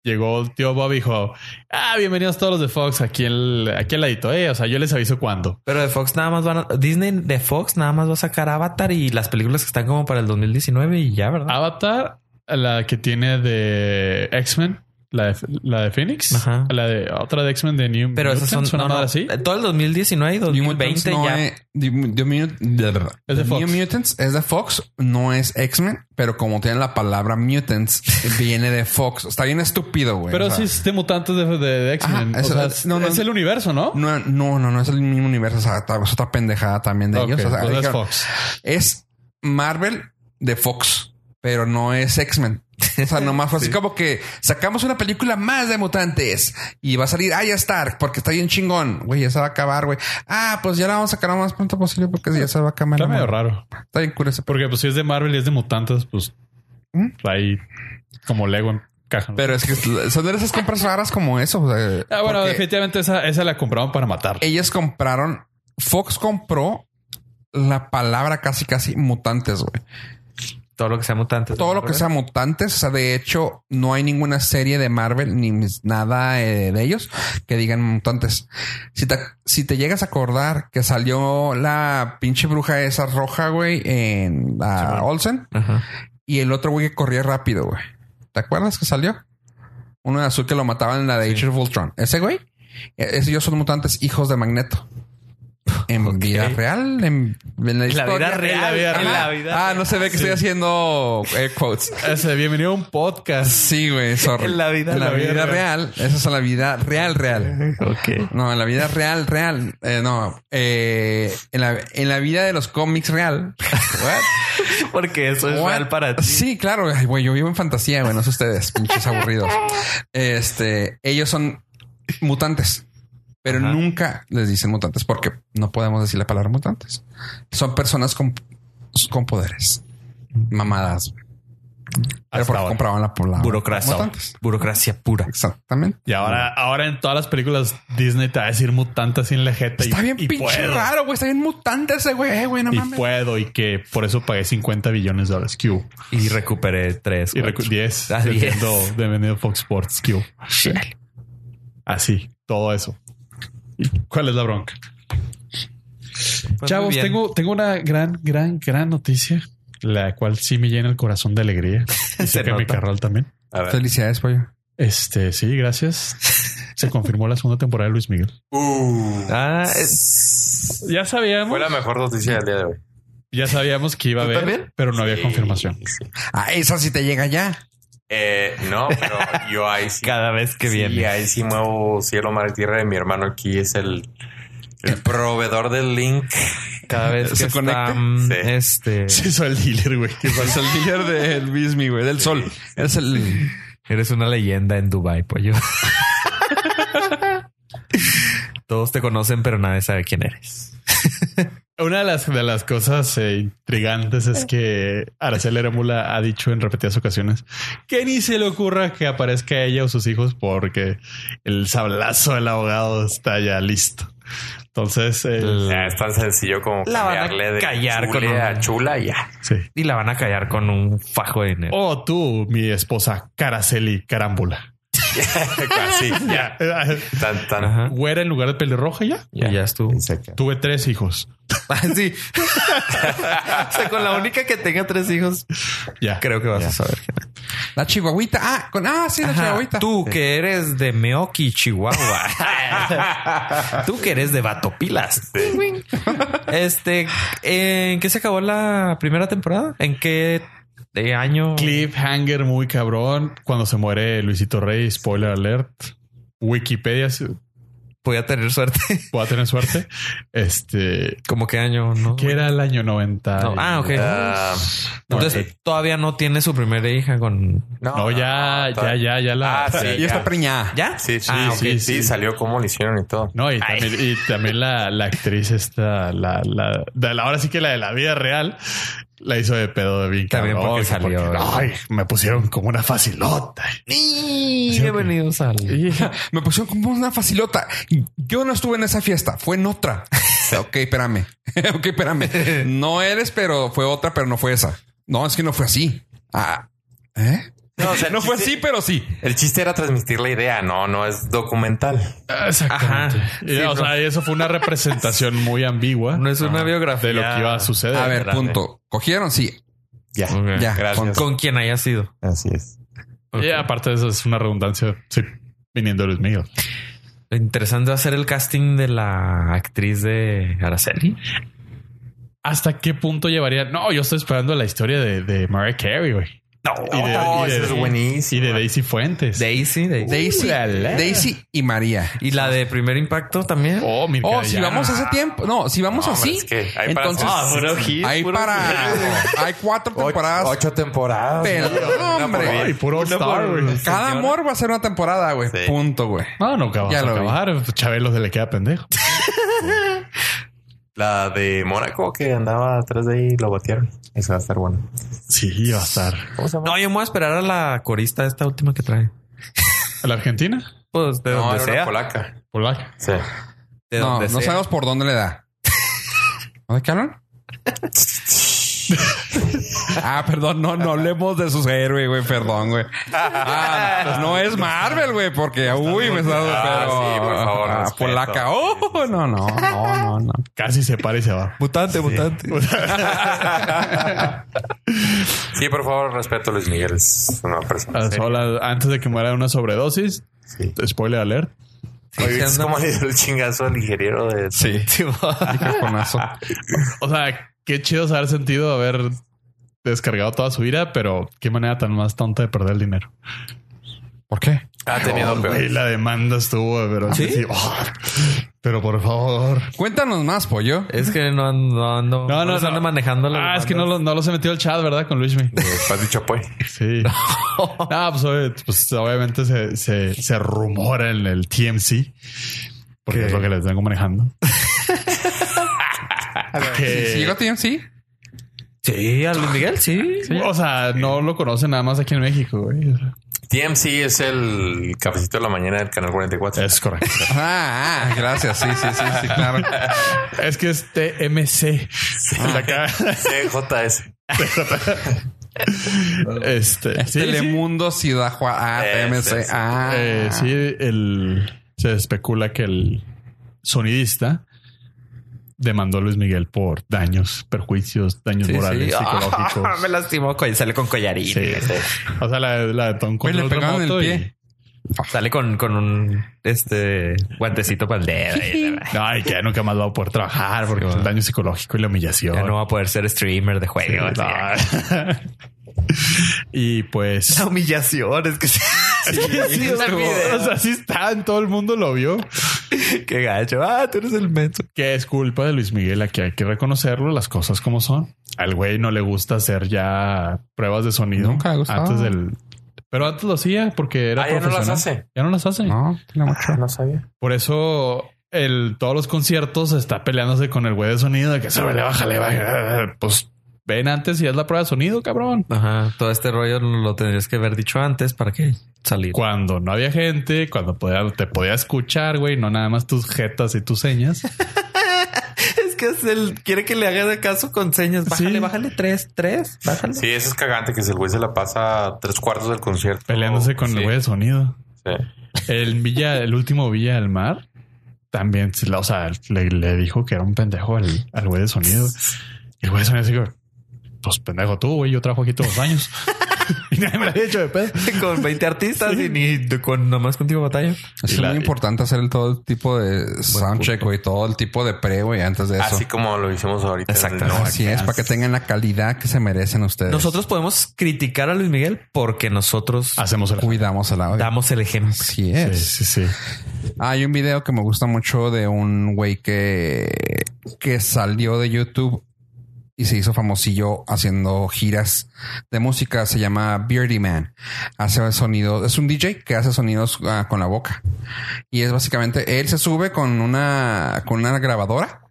llegó el tío Bob y dijo: Ah, bienvenidos todos los de Fox aquí, el, aquí al ladito. Eh, o sea, yo les aviso cuándo.
Pero de Fox nada más van a, Disney de Fox nada más va a sacar Avatar y las películas que están como para el 2019 y ya,
Ah.
¿verdad?
Avatar, la que tiene de X-Men, la de, la de Phoenix,
Ajá.
la de otra de X-Men de New
Pero esas son
Mutants, una
no, no,
madre así.
eh, todo el 2019 y
New
2020
Mutants no
ya.
es- New Mut-
Es de Fox.
New Mutants es de Fox, no es X-Men, pero como tienen la palabra mutants, viene de Fox. Está bien estúpido, güey.
Pero
O sea,
sí es de mutantes de, de- de X-Men.
Ajá, Ah, eso-
o sea, es,
no, no.
es el universo, ¿no?
No, no, no, no es el mismo universo. O sea, es otra pendejada también de
Ok,
ellos. O sea,
entonces es
dijeron, "Ah,
Fox.
es Marvel de Fox, pero no es X-Men. O sea, nomás fue así como que sacamos una película más de mutantes y va a salir Arya Stark porque está bien chingón. Güey, ya se va a acabar, güey. Ah, pues ya la vamos a sacar lo más pronto posible porque ya se va a acabar.
Está
la
medio
madre.
raro.
Está bien curioso.
Porque pues si es de Marvel y es de mutantes, pues
¿Mm?
ahí como Lego en caja. ¿no?
Pero es que son de esas compras raras como eso. o sea,
ah, bueno,
porque Eh,
definitivamente esa, esa la compraron para matar.
ellas compraron, Fox compró la palabra casi casi mutantes, güey.
Todo lo que sea mutante.
todo lo que sea mutantes. O sea, de hecho, no hay ninguna serie de Marvel ni mis- nada eh, de ellos que digan mutantes. Si te, si te llegas a acordar que salió la pinche bruja esa roja, güey, en la Olsen,
Ajá.
y el otro güey que corría rápido, güey. ¿Te acuerdas que salió? Uno de azul que lo mataban en la de Age of Ultron. Ese güey, eh, esos ellos son mutantes hijos de Magneto. En vida real, en, en la, historia.
vida real,
vida
Ajá.
en la vida
Ah, no se ve que estoy haciendo air quotes.
Ese, bienvenido a un podcast.
Sí, güey, sorry.
En la vida-
en la vida, real. Esa es la vida real, real.
Ok.
No, en la vida real, real. Eh, no, eh, en, la, en la vida de los cómics real.
Porque eso es
What?
real para ti.
Sí, claro. Ay, güey, yo vivo en fantasía, güey. No sé ustedes, pinches aburridos. Este, ellos son mutantes, pero
Ajá.
nunca les dicen mutantes porque no podemos decir la palabra mutantes. Son personas con, con poderes. Mamadas. güey. Pero
Hasta
porque
ahora.
compraban la palabra.
Burocracia.
mutantes.
Burocracia pura.
Exactamente.
Y ahora,
Mm.
ahora en todas las películas Disney te va a decir mutante así en la jeta. y-
Está bien
y
pinche
puedo,
raro, güey. Está bien mutante ese güey. Eh, güey, no
Y
mames.
puedo, y que por eso pagué 50 billones de dólares. Q.
Y recuperé tres.
Y
cuatro.
recu- 10.
Ah, diez.
dependiendo- dependiendo de Fox Sports Q.
Chale.
Así, todo eso. ¿Y cuál es la bronca?
Pues muy
Chavos,
bien.
tengo, tengo una gran, gran, gran noticia, la cual sí me llena el corazón de alegría. Y
Se
sé que mi
nota.
carral también.
A ver.
Felicidades, pollo.
Este, sí, gracias. Se confirmó la segunda temporada de Luis Miguel.
Uh.
Ah, es-
Ya sabíamos.
Fue la mejor noticia del día de hoy.
Ya sabíamos que iba a
¿Tú
haber,
también?
pero no había
Sí,
confirmación.
sí.
Ah, esa sí te llega ya.
Eh, no, pero yo ahí sí.
cada vez que
sí,
viene.
ahí sí muevo cielo, mar y tierra. Y mi hermano aquí es el, el proveedor del link.
Cada vez que
¿Se
está
conecta?
mm,
Sí.
este
Sí, soy el dealer, güey.
Es Pues el líder del Bismi, güey, del sol. Es el.
eres una leyenda en Dubai, pollo. Todos te conocen, pero nadie sabe quién eres.
Una de las, de las cosas eh, intrigantes es que Araceli Arámbula ha dicho en repetidas ocasiones que ni se le ocurra que aparezca ella o sus hijos porque el sablazo del abogado está ya listo. Entonces, eh, el-
Ya, es tan sencillo como
La van a
cambiarle de
callar
chule
con un-
a chula y ya.
sí.
Y la van a callar con un fajo de dinero.
O tú, mi esposa Caraceli Carámbula.
Así, ya.
Ya, eh,
Tan, tan.
Ajá.
güera en lugar de pelirroja ya.
Y ya estuvo.
Tuve tres hijos.
Así. o sea, con la única que tenga tres hijos,
Ya.
creo que vas a saber quién es.
La chihuahuita. Ah, con. Ah, sí, la
Ajá,
chihuahuita.
Tú que eres de Meoki, Chihuahua. Tú que eres de Batopilas. Este, ¿en qué se acabó la primera temporada? ¿En qué eh, año?
Cliffhanger muy cabrón cuando se muere Luisito Rey. Spoiler alert. Wikipedia se-
Voy a tener suerte.
voy a tener suerte. Este,
¿Cómo qué año? No.
que era el año 90.
No, Ah, ok.
Ah,
Entonces todavía no tiene su primera hija con.
No, ya,
no,
ya, ya, ya la.
Ah, sí.
Y está preñada.
¿Ya?
Sí, sí,
Ah, ok.
sí,
sí,
sí,
sí.
salió como lo hicieron y todo.
No, y
Ay.
también, y también la, la actriz esta, la, la, de la, ahora sí que la de la vida real, la hizo de pedo de bien
También
cabrón,
porque
que
salió, ¿verdad?
Ay, me pusieron como una facilota.
Y bienvenidos al.
Me pusieron como una facilota. Yo no estuve en esa fiesta, fue en otra. ok, espérame. ok, espérame. No eres, pero fue otra, pero no fue esa. No, es que no fue así. Ah, ¿eh?
No, o sea,
No fue
el chiste-
así, pero sí.
El chiste era transmitir la idea, no, no es documental.
Exactamente.
Ajá.
Y, o sea, y eso fue una representación muy ambigua
No es una biografía
de lo que iba a suceder.
A ver,
grande.
punto. Cogieron, sí.
Ya,
Ok.
Ya.
Gracias.
Con-
Con quien haya sido.
así es.
Ok.
Y aparte de eso, es una redundancia. Sí, viniendo de Luis Miguel.
Lo interesante va a ser el casting de la actriz de Araceli.
¿Hasta qué punto llevaría? No, yo estoy esperando la historia de, de Mariah Carey, güey.
No,
Y de- y de-
eso es
Y
buenísimo.
de Daisy Fuentes.
Daisy,
Uh,
Daisy.
Daisy,
Ulala.
Daisy y María.
Y la de primer impacto también.
Oh, mira.
Oh, si
ya.
vamos a ese tiempo. No, si vamos
No, hombre,
así.
es que hay para-
entonces,
Ah, puro
hay para. Hay cuatro temporadas.
Ocho temporadas.
Pero, no, hombre.
Ay, puro star, güey.
Cada
señor.
amor va a ser una temporada, güey.
Sí.
Punto, güey.
No, no acabamos
Ya
de
lo vi.
acabar. Chabelo se le queda pendejo.
La de Mónaco que andaba atrás de ahí lo batearon. Eso va a estar bueno.
Sí, va a estar.
¿Cómo se llama?
No, yo me voy a esperar a la corista esta última que trae.
¿A la Argentina? Pues
Pues de donde
era una
sea.
polaca.
Polaca.
Sí.
De
no,
donde
no
sea.
sabemos por dónde le da. ¿De qué hablan? Ah, perdón, no, no hablemos de sus héroes, güey, perdón, güey. Ah, pues no es Marvel, güey, porque, uy, me está...
Ah,
pero-
sí, por favor,
Ah,
respeto.
polaca. Oh, no, no, no, no, no.
Casi se para y se va.
Mutante, mutante.
Sí, por favor, respeto a Luis Miguel. Es una persona.
Ah,
seria.
sola- antes de que muera de una sobredosis.
Sí.
Spoiler alert.
Oye,
Sí,
es
anda-
como le dio el chingazo al ingeniero de.
Sí. Cajonazo.
O sea, qué chido haber sentido haber descargado toda su ira, pero qué manera tan más tonta de perder el dinero.
¿Por qué?
Ha tenido
Güey,
peor.
la demanda estuvo, pero
¿Sí?
oh, pero por favor.
Cuéntanos más, pollo.
Es que no ando,
No,
no,
no,
los
no.
ando manejando. las
Ah, es que no,
bandas.
lo- no los he metido al chat, ¿verdad? Con Luismi.
Has dicho, pues.
Sí. Ah, pues, obvio- pues, obviamente se, se, se rumora en el TMC. Porque
¿Qué?
es lo que les vengo manejando.
Si
que,
llegó a sí.
Sí, a Luis Miguel, sí.
o sea, no lo conocen nada más aquí en México, güey.
TMC es el cafecito de la mañana del canal 44.
Es correcto.
Ah, ah, gracias. Sí, sí, sí, sí, claro.
es que es TMC. De acá.
CJS.
Este, sí, sí.
Telemundo Ciudad Juárez. Ah,
Ese,
TMC.
ese.
Ah,
Eh, sí, el, se especula que el sonidista demandó a Luis Miguel por daños, perjuicios, daños
Sí,
morales,
sí. Ah,
psicológicos.
me lastimó, co- sale con collarín.
Sí. O sea, la, la de Tom
Güey, le
control
pegaron el
remoto
pie.
Sale con, con un este guantecito para el dedo.
y- Ay, que ya nunca más va a poder trabajar porque
Sí,
el
va.
daño psicológico y la humillación.
ya no va a poder ser streamer de
Sí,
juego.
no. y pues...
humillación es que sí,
Sí, o sea, o sea, sí están, todo el mundo lo vio.
Qué gacho. Ah, tú eres el menso.
que es culpa de Luis Miguel, aquí hay que reconocerlo, las cosas como son. Al güey no le gusta hacer ya pruebas de sonido
Nunca le gustaba.
antes del pero antes lo hacía porque era
Ah, ya no
profesional.
las hace.
Ya no las hace.
No, tiene mucho.
No sabía.
Por eso el todos los conciertos está peleándose con el güey de sonido de que se le baja, le baja. Pues ven antes y haz la prueba de sonido, cabrón.
Ajá. Todo este rollo lo tendrías que haber dicho antes para que salir.
Cuando no había gente, cuando podía- te podía escuchar, güey, no nada más tus jetas y tus señas.
Es que es el quiere que le haga caso con señas. Bájale,
Sí.
bájale tres, tres, bájale.
Sí, eso es cagante que si el güey se la pasa tres cuartos del concierto.
Peleándose con
Oh, Sí,
el güey de sonido.
sí.
El Villa, el último Villa del Mar, también, se la- o sea, le, le dijo que era un pendejo al, al güey de sonido. Y el güey de sonido así, como, pues pendejo tú, güey, yo trabajo aquí todos los años. y nadie me lo había hecho de pedo.
Con 20 artistas y ni con nomás contigo batalla.
Es
Y la-
muy importante hacer el- todo el tipo de soundcheck, güey, todo el tipo de pre, güey, antes de eso.
Así como lo hicimos ahorita. en el
Exacto.
Nord.
Así es, para que tengan la calidad que se merecen ustedes.
Nosotros podemos criticar a Luis Miguel porque nosotros
Hacemos el...
cuidamos el audio.
damos el ejemplo.
Así
Sí,
es.
sí, sí.
Hay un video que me gusta mucho de un güey que, que salió de YouTube y se hizo famosillo haciendo giras de música. Se llama Beardy Man. Hace sonidos, es un DJ que hace sonidos ah, con la boca. Y es básicamente, él se sube con una, con una grabadora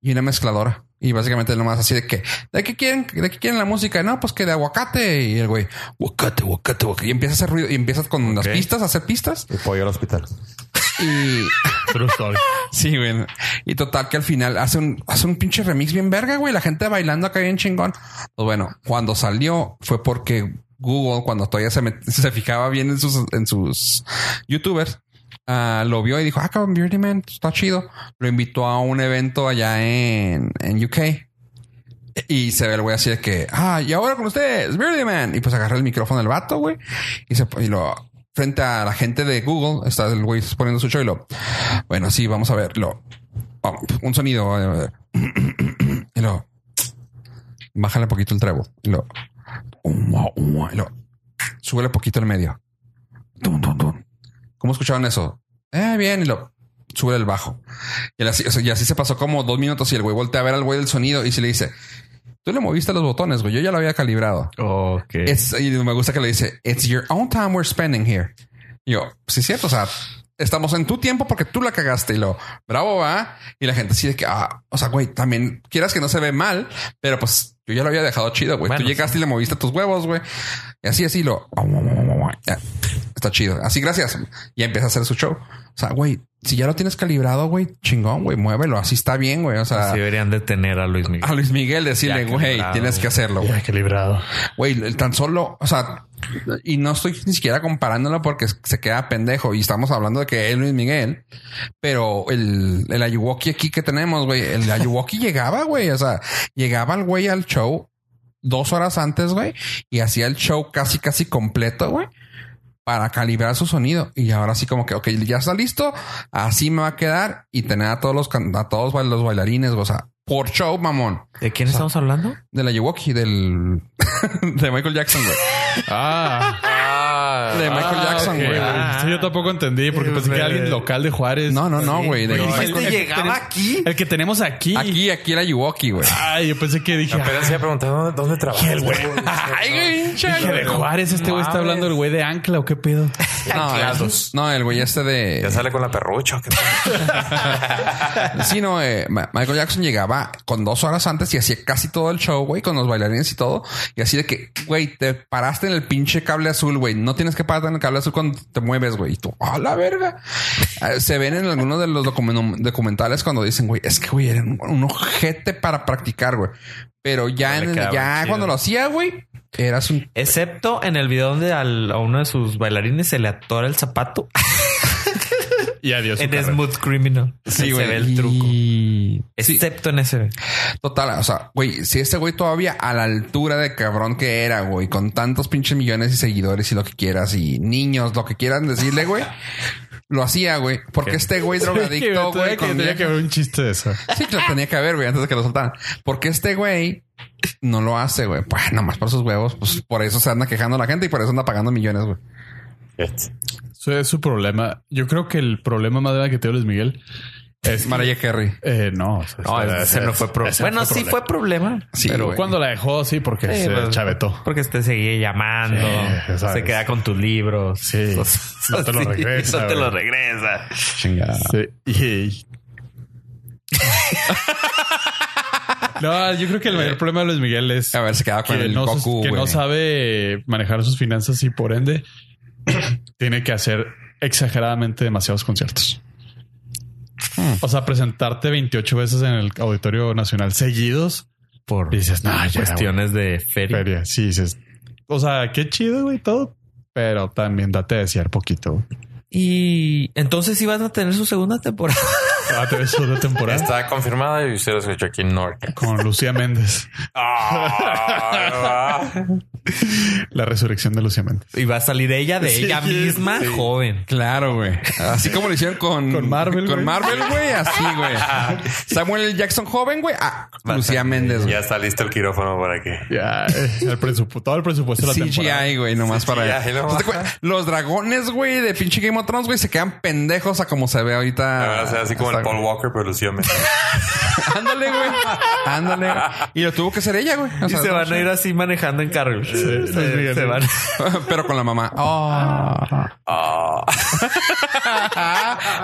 y una mezcladora. Y básicamente nomás así de que, ¿de qué quieren? ¿De qué quieren la música? No, pues que de aguacate. Y el güey, aguacate, aguacate, aguacate. Y empieza a hacer ruido y empieza con las
Ok.
pistas, a hacer pistas.
Y pollo al hospital.
Y
True story.
Sí, güey. Y total que al final hace un, hace un pinche remix bien verga, güey. La gente bailando acá bien chingón. Pues bueno, cuando salió fue porque Google, cuando todavía se, met- se fijaba bien en sus, en sus youtubers, ah, lo vio y dijo, ah, cabrón, Beardy Man, está chido. Lo invitó a un evento allá en, en UK. Y se ve el güey así de que, ah, y ahora con ustedes, Beardy Man. Y pues agarra el micrófono del vato, güey. Y se y lo frente a la gente de Google está el güey poniendo su show y lo, bueno, sí, vamos a ver. Lo, oh, un sonido. eh, y lo, bájale poquito el treble. Y lo, umua, umua, y lo, súbele poquito el medio. Tun, tun, tun. ¿Cómo escucharon eso? Eh, bien, y lo, sube el bajo. Y, él así, o sea, y así se pasó como dos minutos y el güey voltea a ver al güey del sonido y se le dice, tú le moviste los botones, güey, yo ya lo había calibrado.
Ok.
It's- y me gusta que le dice, it's your own time we're spending here. Y yo, sí, es cierto, o sea, estamos en tu tiempo porque tú la cagaste y lo, bravo, va. Y la gente así de que, ah, o sea, güey, también quieras que no se ve mal, pero pues yo ya lo había dejado chido, güey.
Bueno,
tú llegaste y le moviste tus huevos, güey. Y así, ah, así lo, ya, está chido. Así, gracias. Y empieza a hacer su show. O sea, güey, si ya lo tienes calibrado, güey, chingón, güey, muévelo. Así está bien, güey. O sea,
Así deberían de tener a Luis Miguel.
a Luis Miguel decirle,
Ya
güey,
calibrado,
tienes que hacerlo, güey.
Ya equilibrado.
Güey, el tan solo, o sea, y no estoy ni siquiera comparándolo porque se queda pendejo y estamos hablando de que es Luis Miguel, pero el, el Ayuwoki aquí que tenemos, güey, el Ayuwoki llegaba, güey, o sea, llegaba el güey al show dos horas antes, güey, y hacía el show casi, casi completo, güey. Para calibrar su sonido. Y ahora sí, como que, ok, ya está listo. Así me va a quedar. Y tener a todos los, can- a todos los bailarines, güey, o sea, por show, mamón.
¿De quién estamos hablando?
De la Yewoki, del. de Michael Jackson, güey.
Ah.
De Michael
Ah,
Jackson,
ok,
güey.
Sí, yo tampoco entendí porque pensé que era alguien local de Juárez.
No, no, no, güey. de
Güey,
Michael-
este llegaba
Pues aquí?
El que tenemos aquí.
Aquí, aquí era Yewoki, güey.
Ay, yo pensé que dije.
Apenas iba a preguntar dónde, dónde trabaja.
el güey.
Ay, güey,
"Ah, dije, de Juárez, este güey está hablando del güey de Ancla o qué pedo.
No,
Anclados.
es- no, el güey este
Ya
de.
sale con la perrucha. ¿qué tal?
Sí, no, eh, Ma- Michael Jackson llegaba con dos horas antes y hacía casi todo el show, güey, con los bailarines y todo. Y así de que, güey, te paraste en el pinche cable azul, güey. No tienes que pararte en el cable azul cuando te mueves, güey. Y tú, a la verga. Eh, Se ven en algunos de los documen- documentales cuando dicen, güey, es que, güey, era un, un ojete para practicar, güey. Pero ya,
Ya le
en el-
quedaba
ya
chido.
cuando lo hacía, güey, eras un
Excepto en el video donde al- a uno de sus bailarines se le atora el zapato
Y adiós. su
en
carrera.
Smooth Criminal.
Sí,
se
güey.
ve el truco.
Y- Sí,
Excepto en ese.
total. O sea, güey, si este güey todavía a la altura de cabrón que era, güey, con tantos pinches millones y seguidores y lo que quieras y niños, lo que quieran decirle, güey, lo hacía, güey. Porque este güey
Que
drogadicto,
tenía
güey,
que-
con
tenía que
vieja-
haber un chiste de eso.
Sí, que lo tenía que haber, güey, antes de que lo soltaran. Porque este güey no lo hace, güey. Pues nomás por sus huevos, pues por eso se anda quejando la gente y por eso anda pagando millones, güey.
Eso es su problema. Yo creo que el problema más grande que tiene Luis Miguel es.
Mariah Carey.
Eh, no, o sea,
No,
ese-
ese no fue problema.
ese
Bueno,
no
sí
problema.
fue problema.
Sí,
Pero
güey.
cuando la dejó, sí, porque
Sí,
se
pues,
chavetó.
Porque te seguía llamando.
Sí, sabes.
se queda con tus libros.
Sí. No te lo
Sí,
regresa,
No te lo
güey.
regresa.
Chingada.
Sí. Y- no, yo creo que el mayor problema de Luis Miguel es
A ver, se quedaba con
que,
el
no,
Goku,
que no
güey.
sabe manejar sus finanzas y por ende tiene que hacer exageradamente demasiados conciertos.
Hmm.
O sea, presentarte 28 veces en el Auditorio Nacional seguidos
Por
Dices, "No, Ah, ya,
cuestiones de feria.
feria. Sí, dices, o sea, qué chido, güey, todo. Pero también date a desear poquito. güey.
Y entonces sí vas a tener su segunda temporada.
Date de su temporada
Está confirmada y usted lo escuchó aquí en Norca.
con Lucía Méndez.
Ah,
La resurrección de Lucía Méndez.
Y va a salir ella de
Sí,
ella misma
sí.
joven.
Claro, güey. Así como lo hicieron con,
Con Marvel,
Con
güey.
Marvel, güey. Así, güey. Samuel L. Jackson joven, güey. Ah, Lucía Méndez, güey.
ya está listo el quirófano para que.
Ya, eh, el presupu- todo el presupuesto de la temporada.
CGI, güey, nomás para.
CGI, no.
¿No te acuerdas? Los dragones, güey, de pinche Game of Thrones, güey, se quedan pendejos a como se ve
La
ahorita.
verdad, o sea, así como el
Hasta-
Paul Walker, pero Lucía Méndez.
Ándale, güey. Ándale. güey. Y lo tuvo que ser ella, güey. O
Y
sea,
se van a ir así manejando en carro.
sí,
se,
sí.
se van.
Pero con la mamá. Oh.
Ah.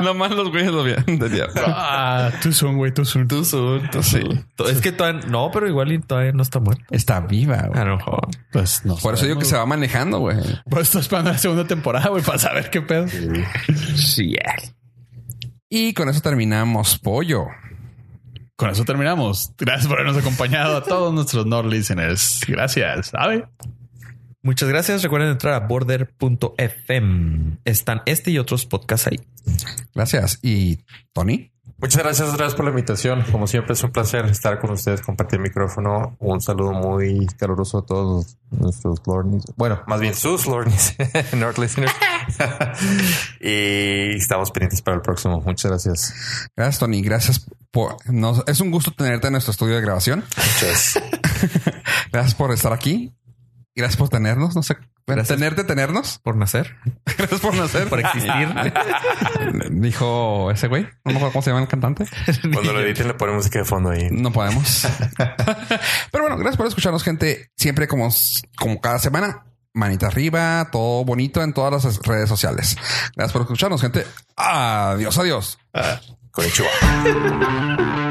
nomás los güeyes lo vieron. entendieron.
Ah, tú son, güey, tú son.
Tú, tú, tú, sí.
Es que todavía no, pero igual y todavía no está muerta.
Está viva,
A
güey.
lo mejor.
Pues no.
Por eso digo que se va manejando, güey.
Pues estoy esperando la segunda temporada, güey, para saber qué pedo.
Sí. Y con eso terminamos, pollo.
Con eso terminamos. Gracias por habernos acompañado a todos nuestros Nord listeners. Gracias. Ave.
Muchas gracias. Recuerden entrar a border.fm. Están este y otros podcasts ahí.
Gracias. Y Tony,
Muchas gracias otra vez por la invitación. Como siempre, es un placer estar con ustedes, compartir micrófono. Un saludo muy caluroso a todos nuestros Lornis. Bueno, más bien sus Lornis, North Listeners. y estamos pendientes para el próximo. Muchas gracias.
gracias, Tony. Gracias por. nos- es un gusto tenerte en nuestro estudio de grabación.
Muchas.
Gracias por estar aquí. Gracias por tenernos. No sé, bueno,
Gracias.
tenerte, tenernos.
Por nacer,
Gracias por nacer.
por existir.
Dijo ese güey. No me acuerdo cómo se llama el cantante.
Cuando lo editen, le ponemos música de fondo ahí.
No podemos. Pero bueno, gracias por escucharnos, gente. Siempre como, como cada semana, manita arriba, todo bonito en todas las redes sociales. Ah, Gracias por escucharnos, gente. Adiós, adiós.
Con el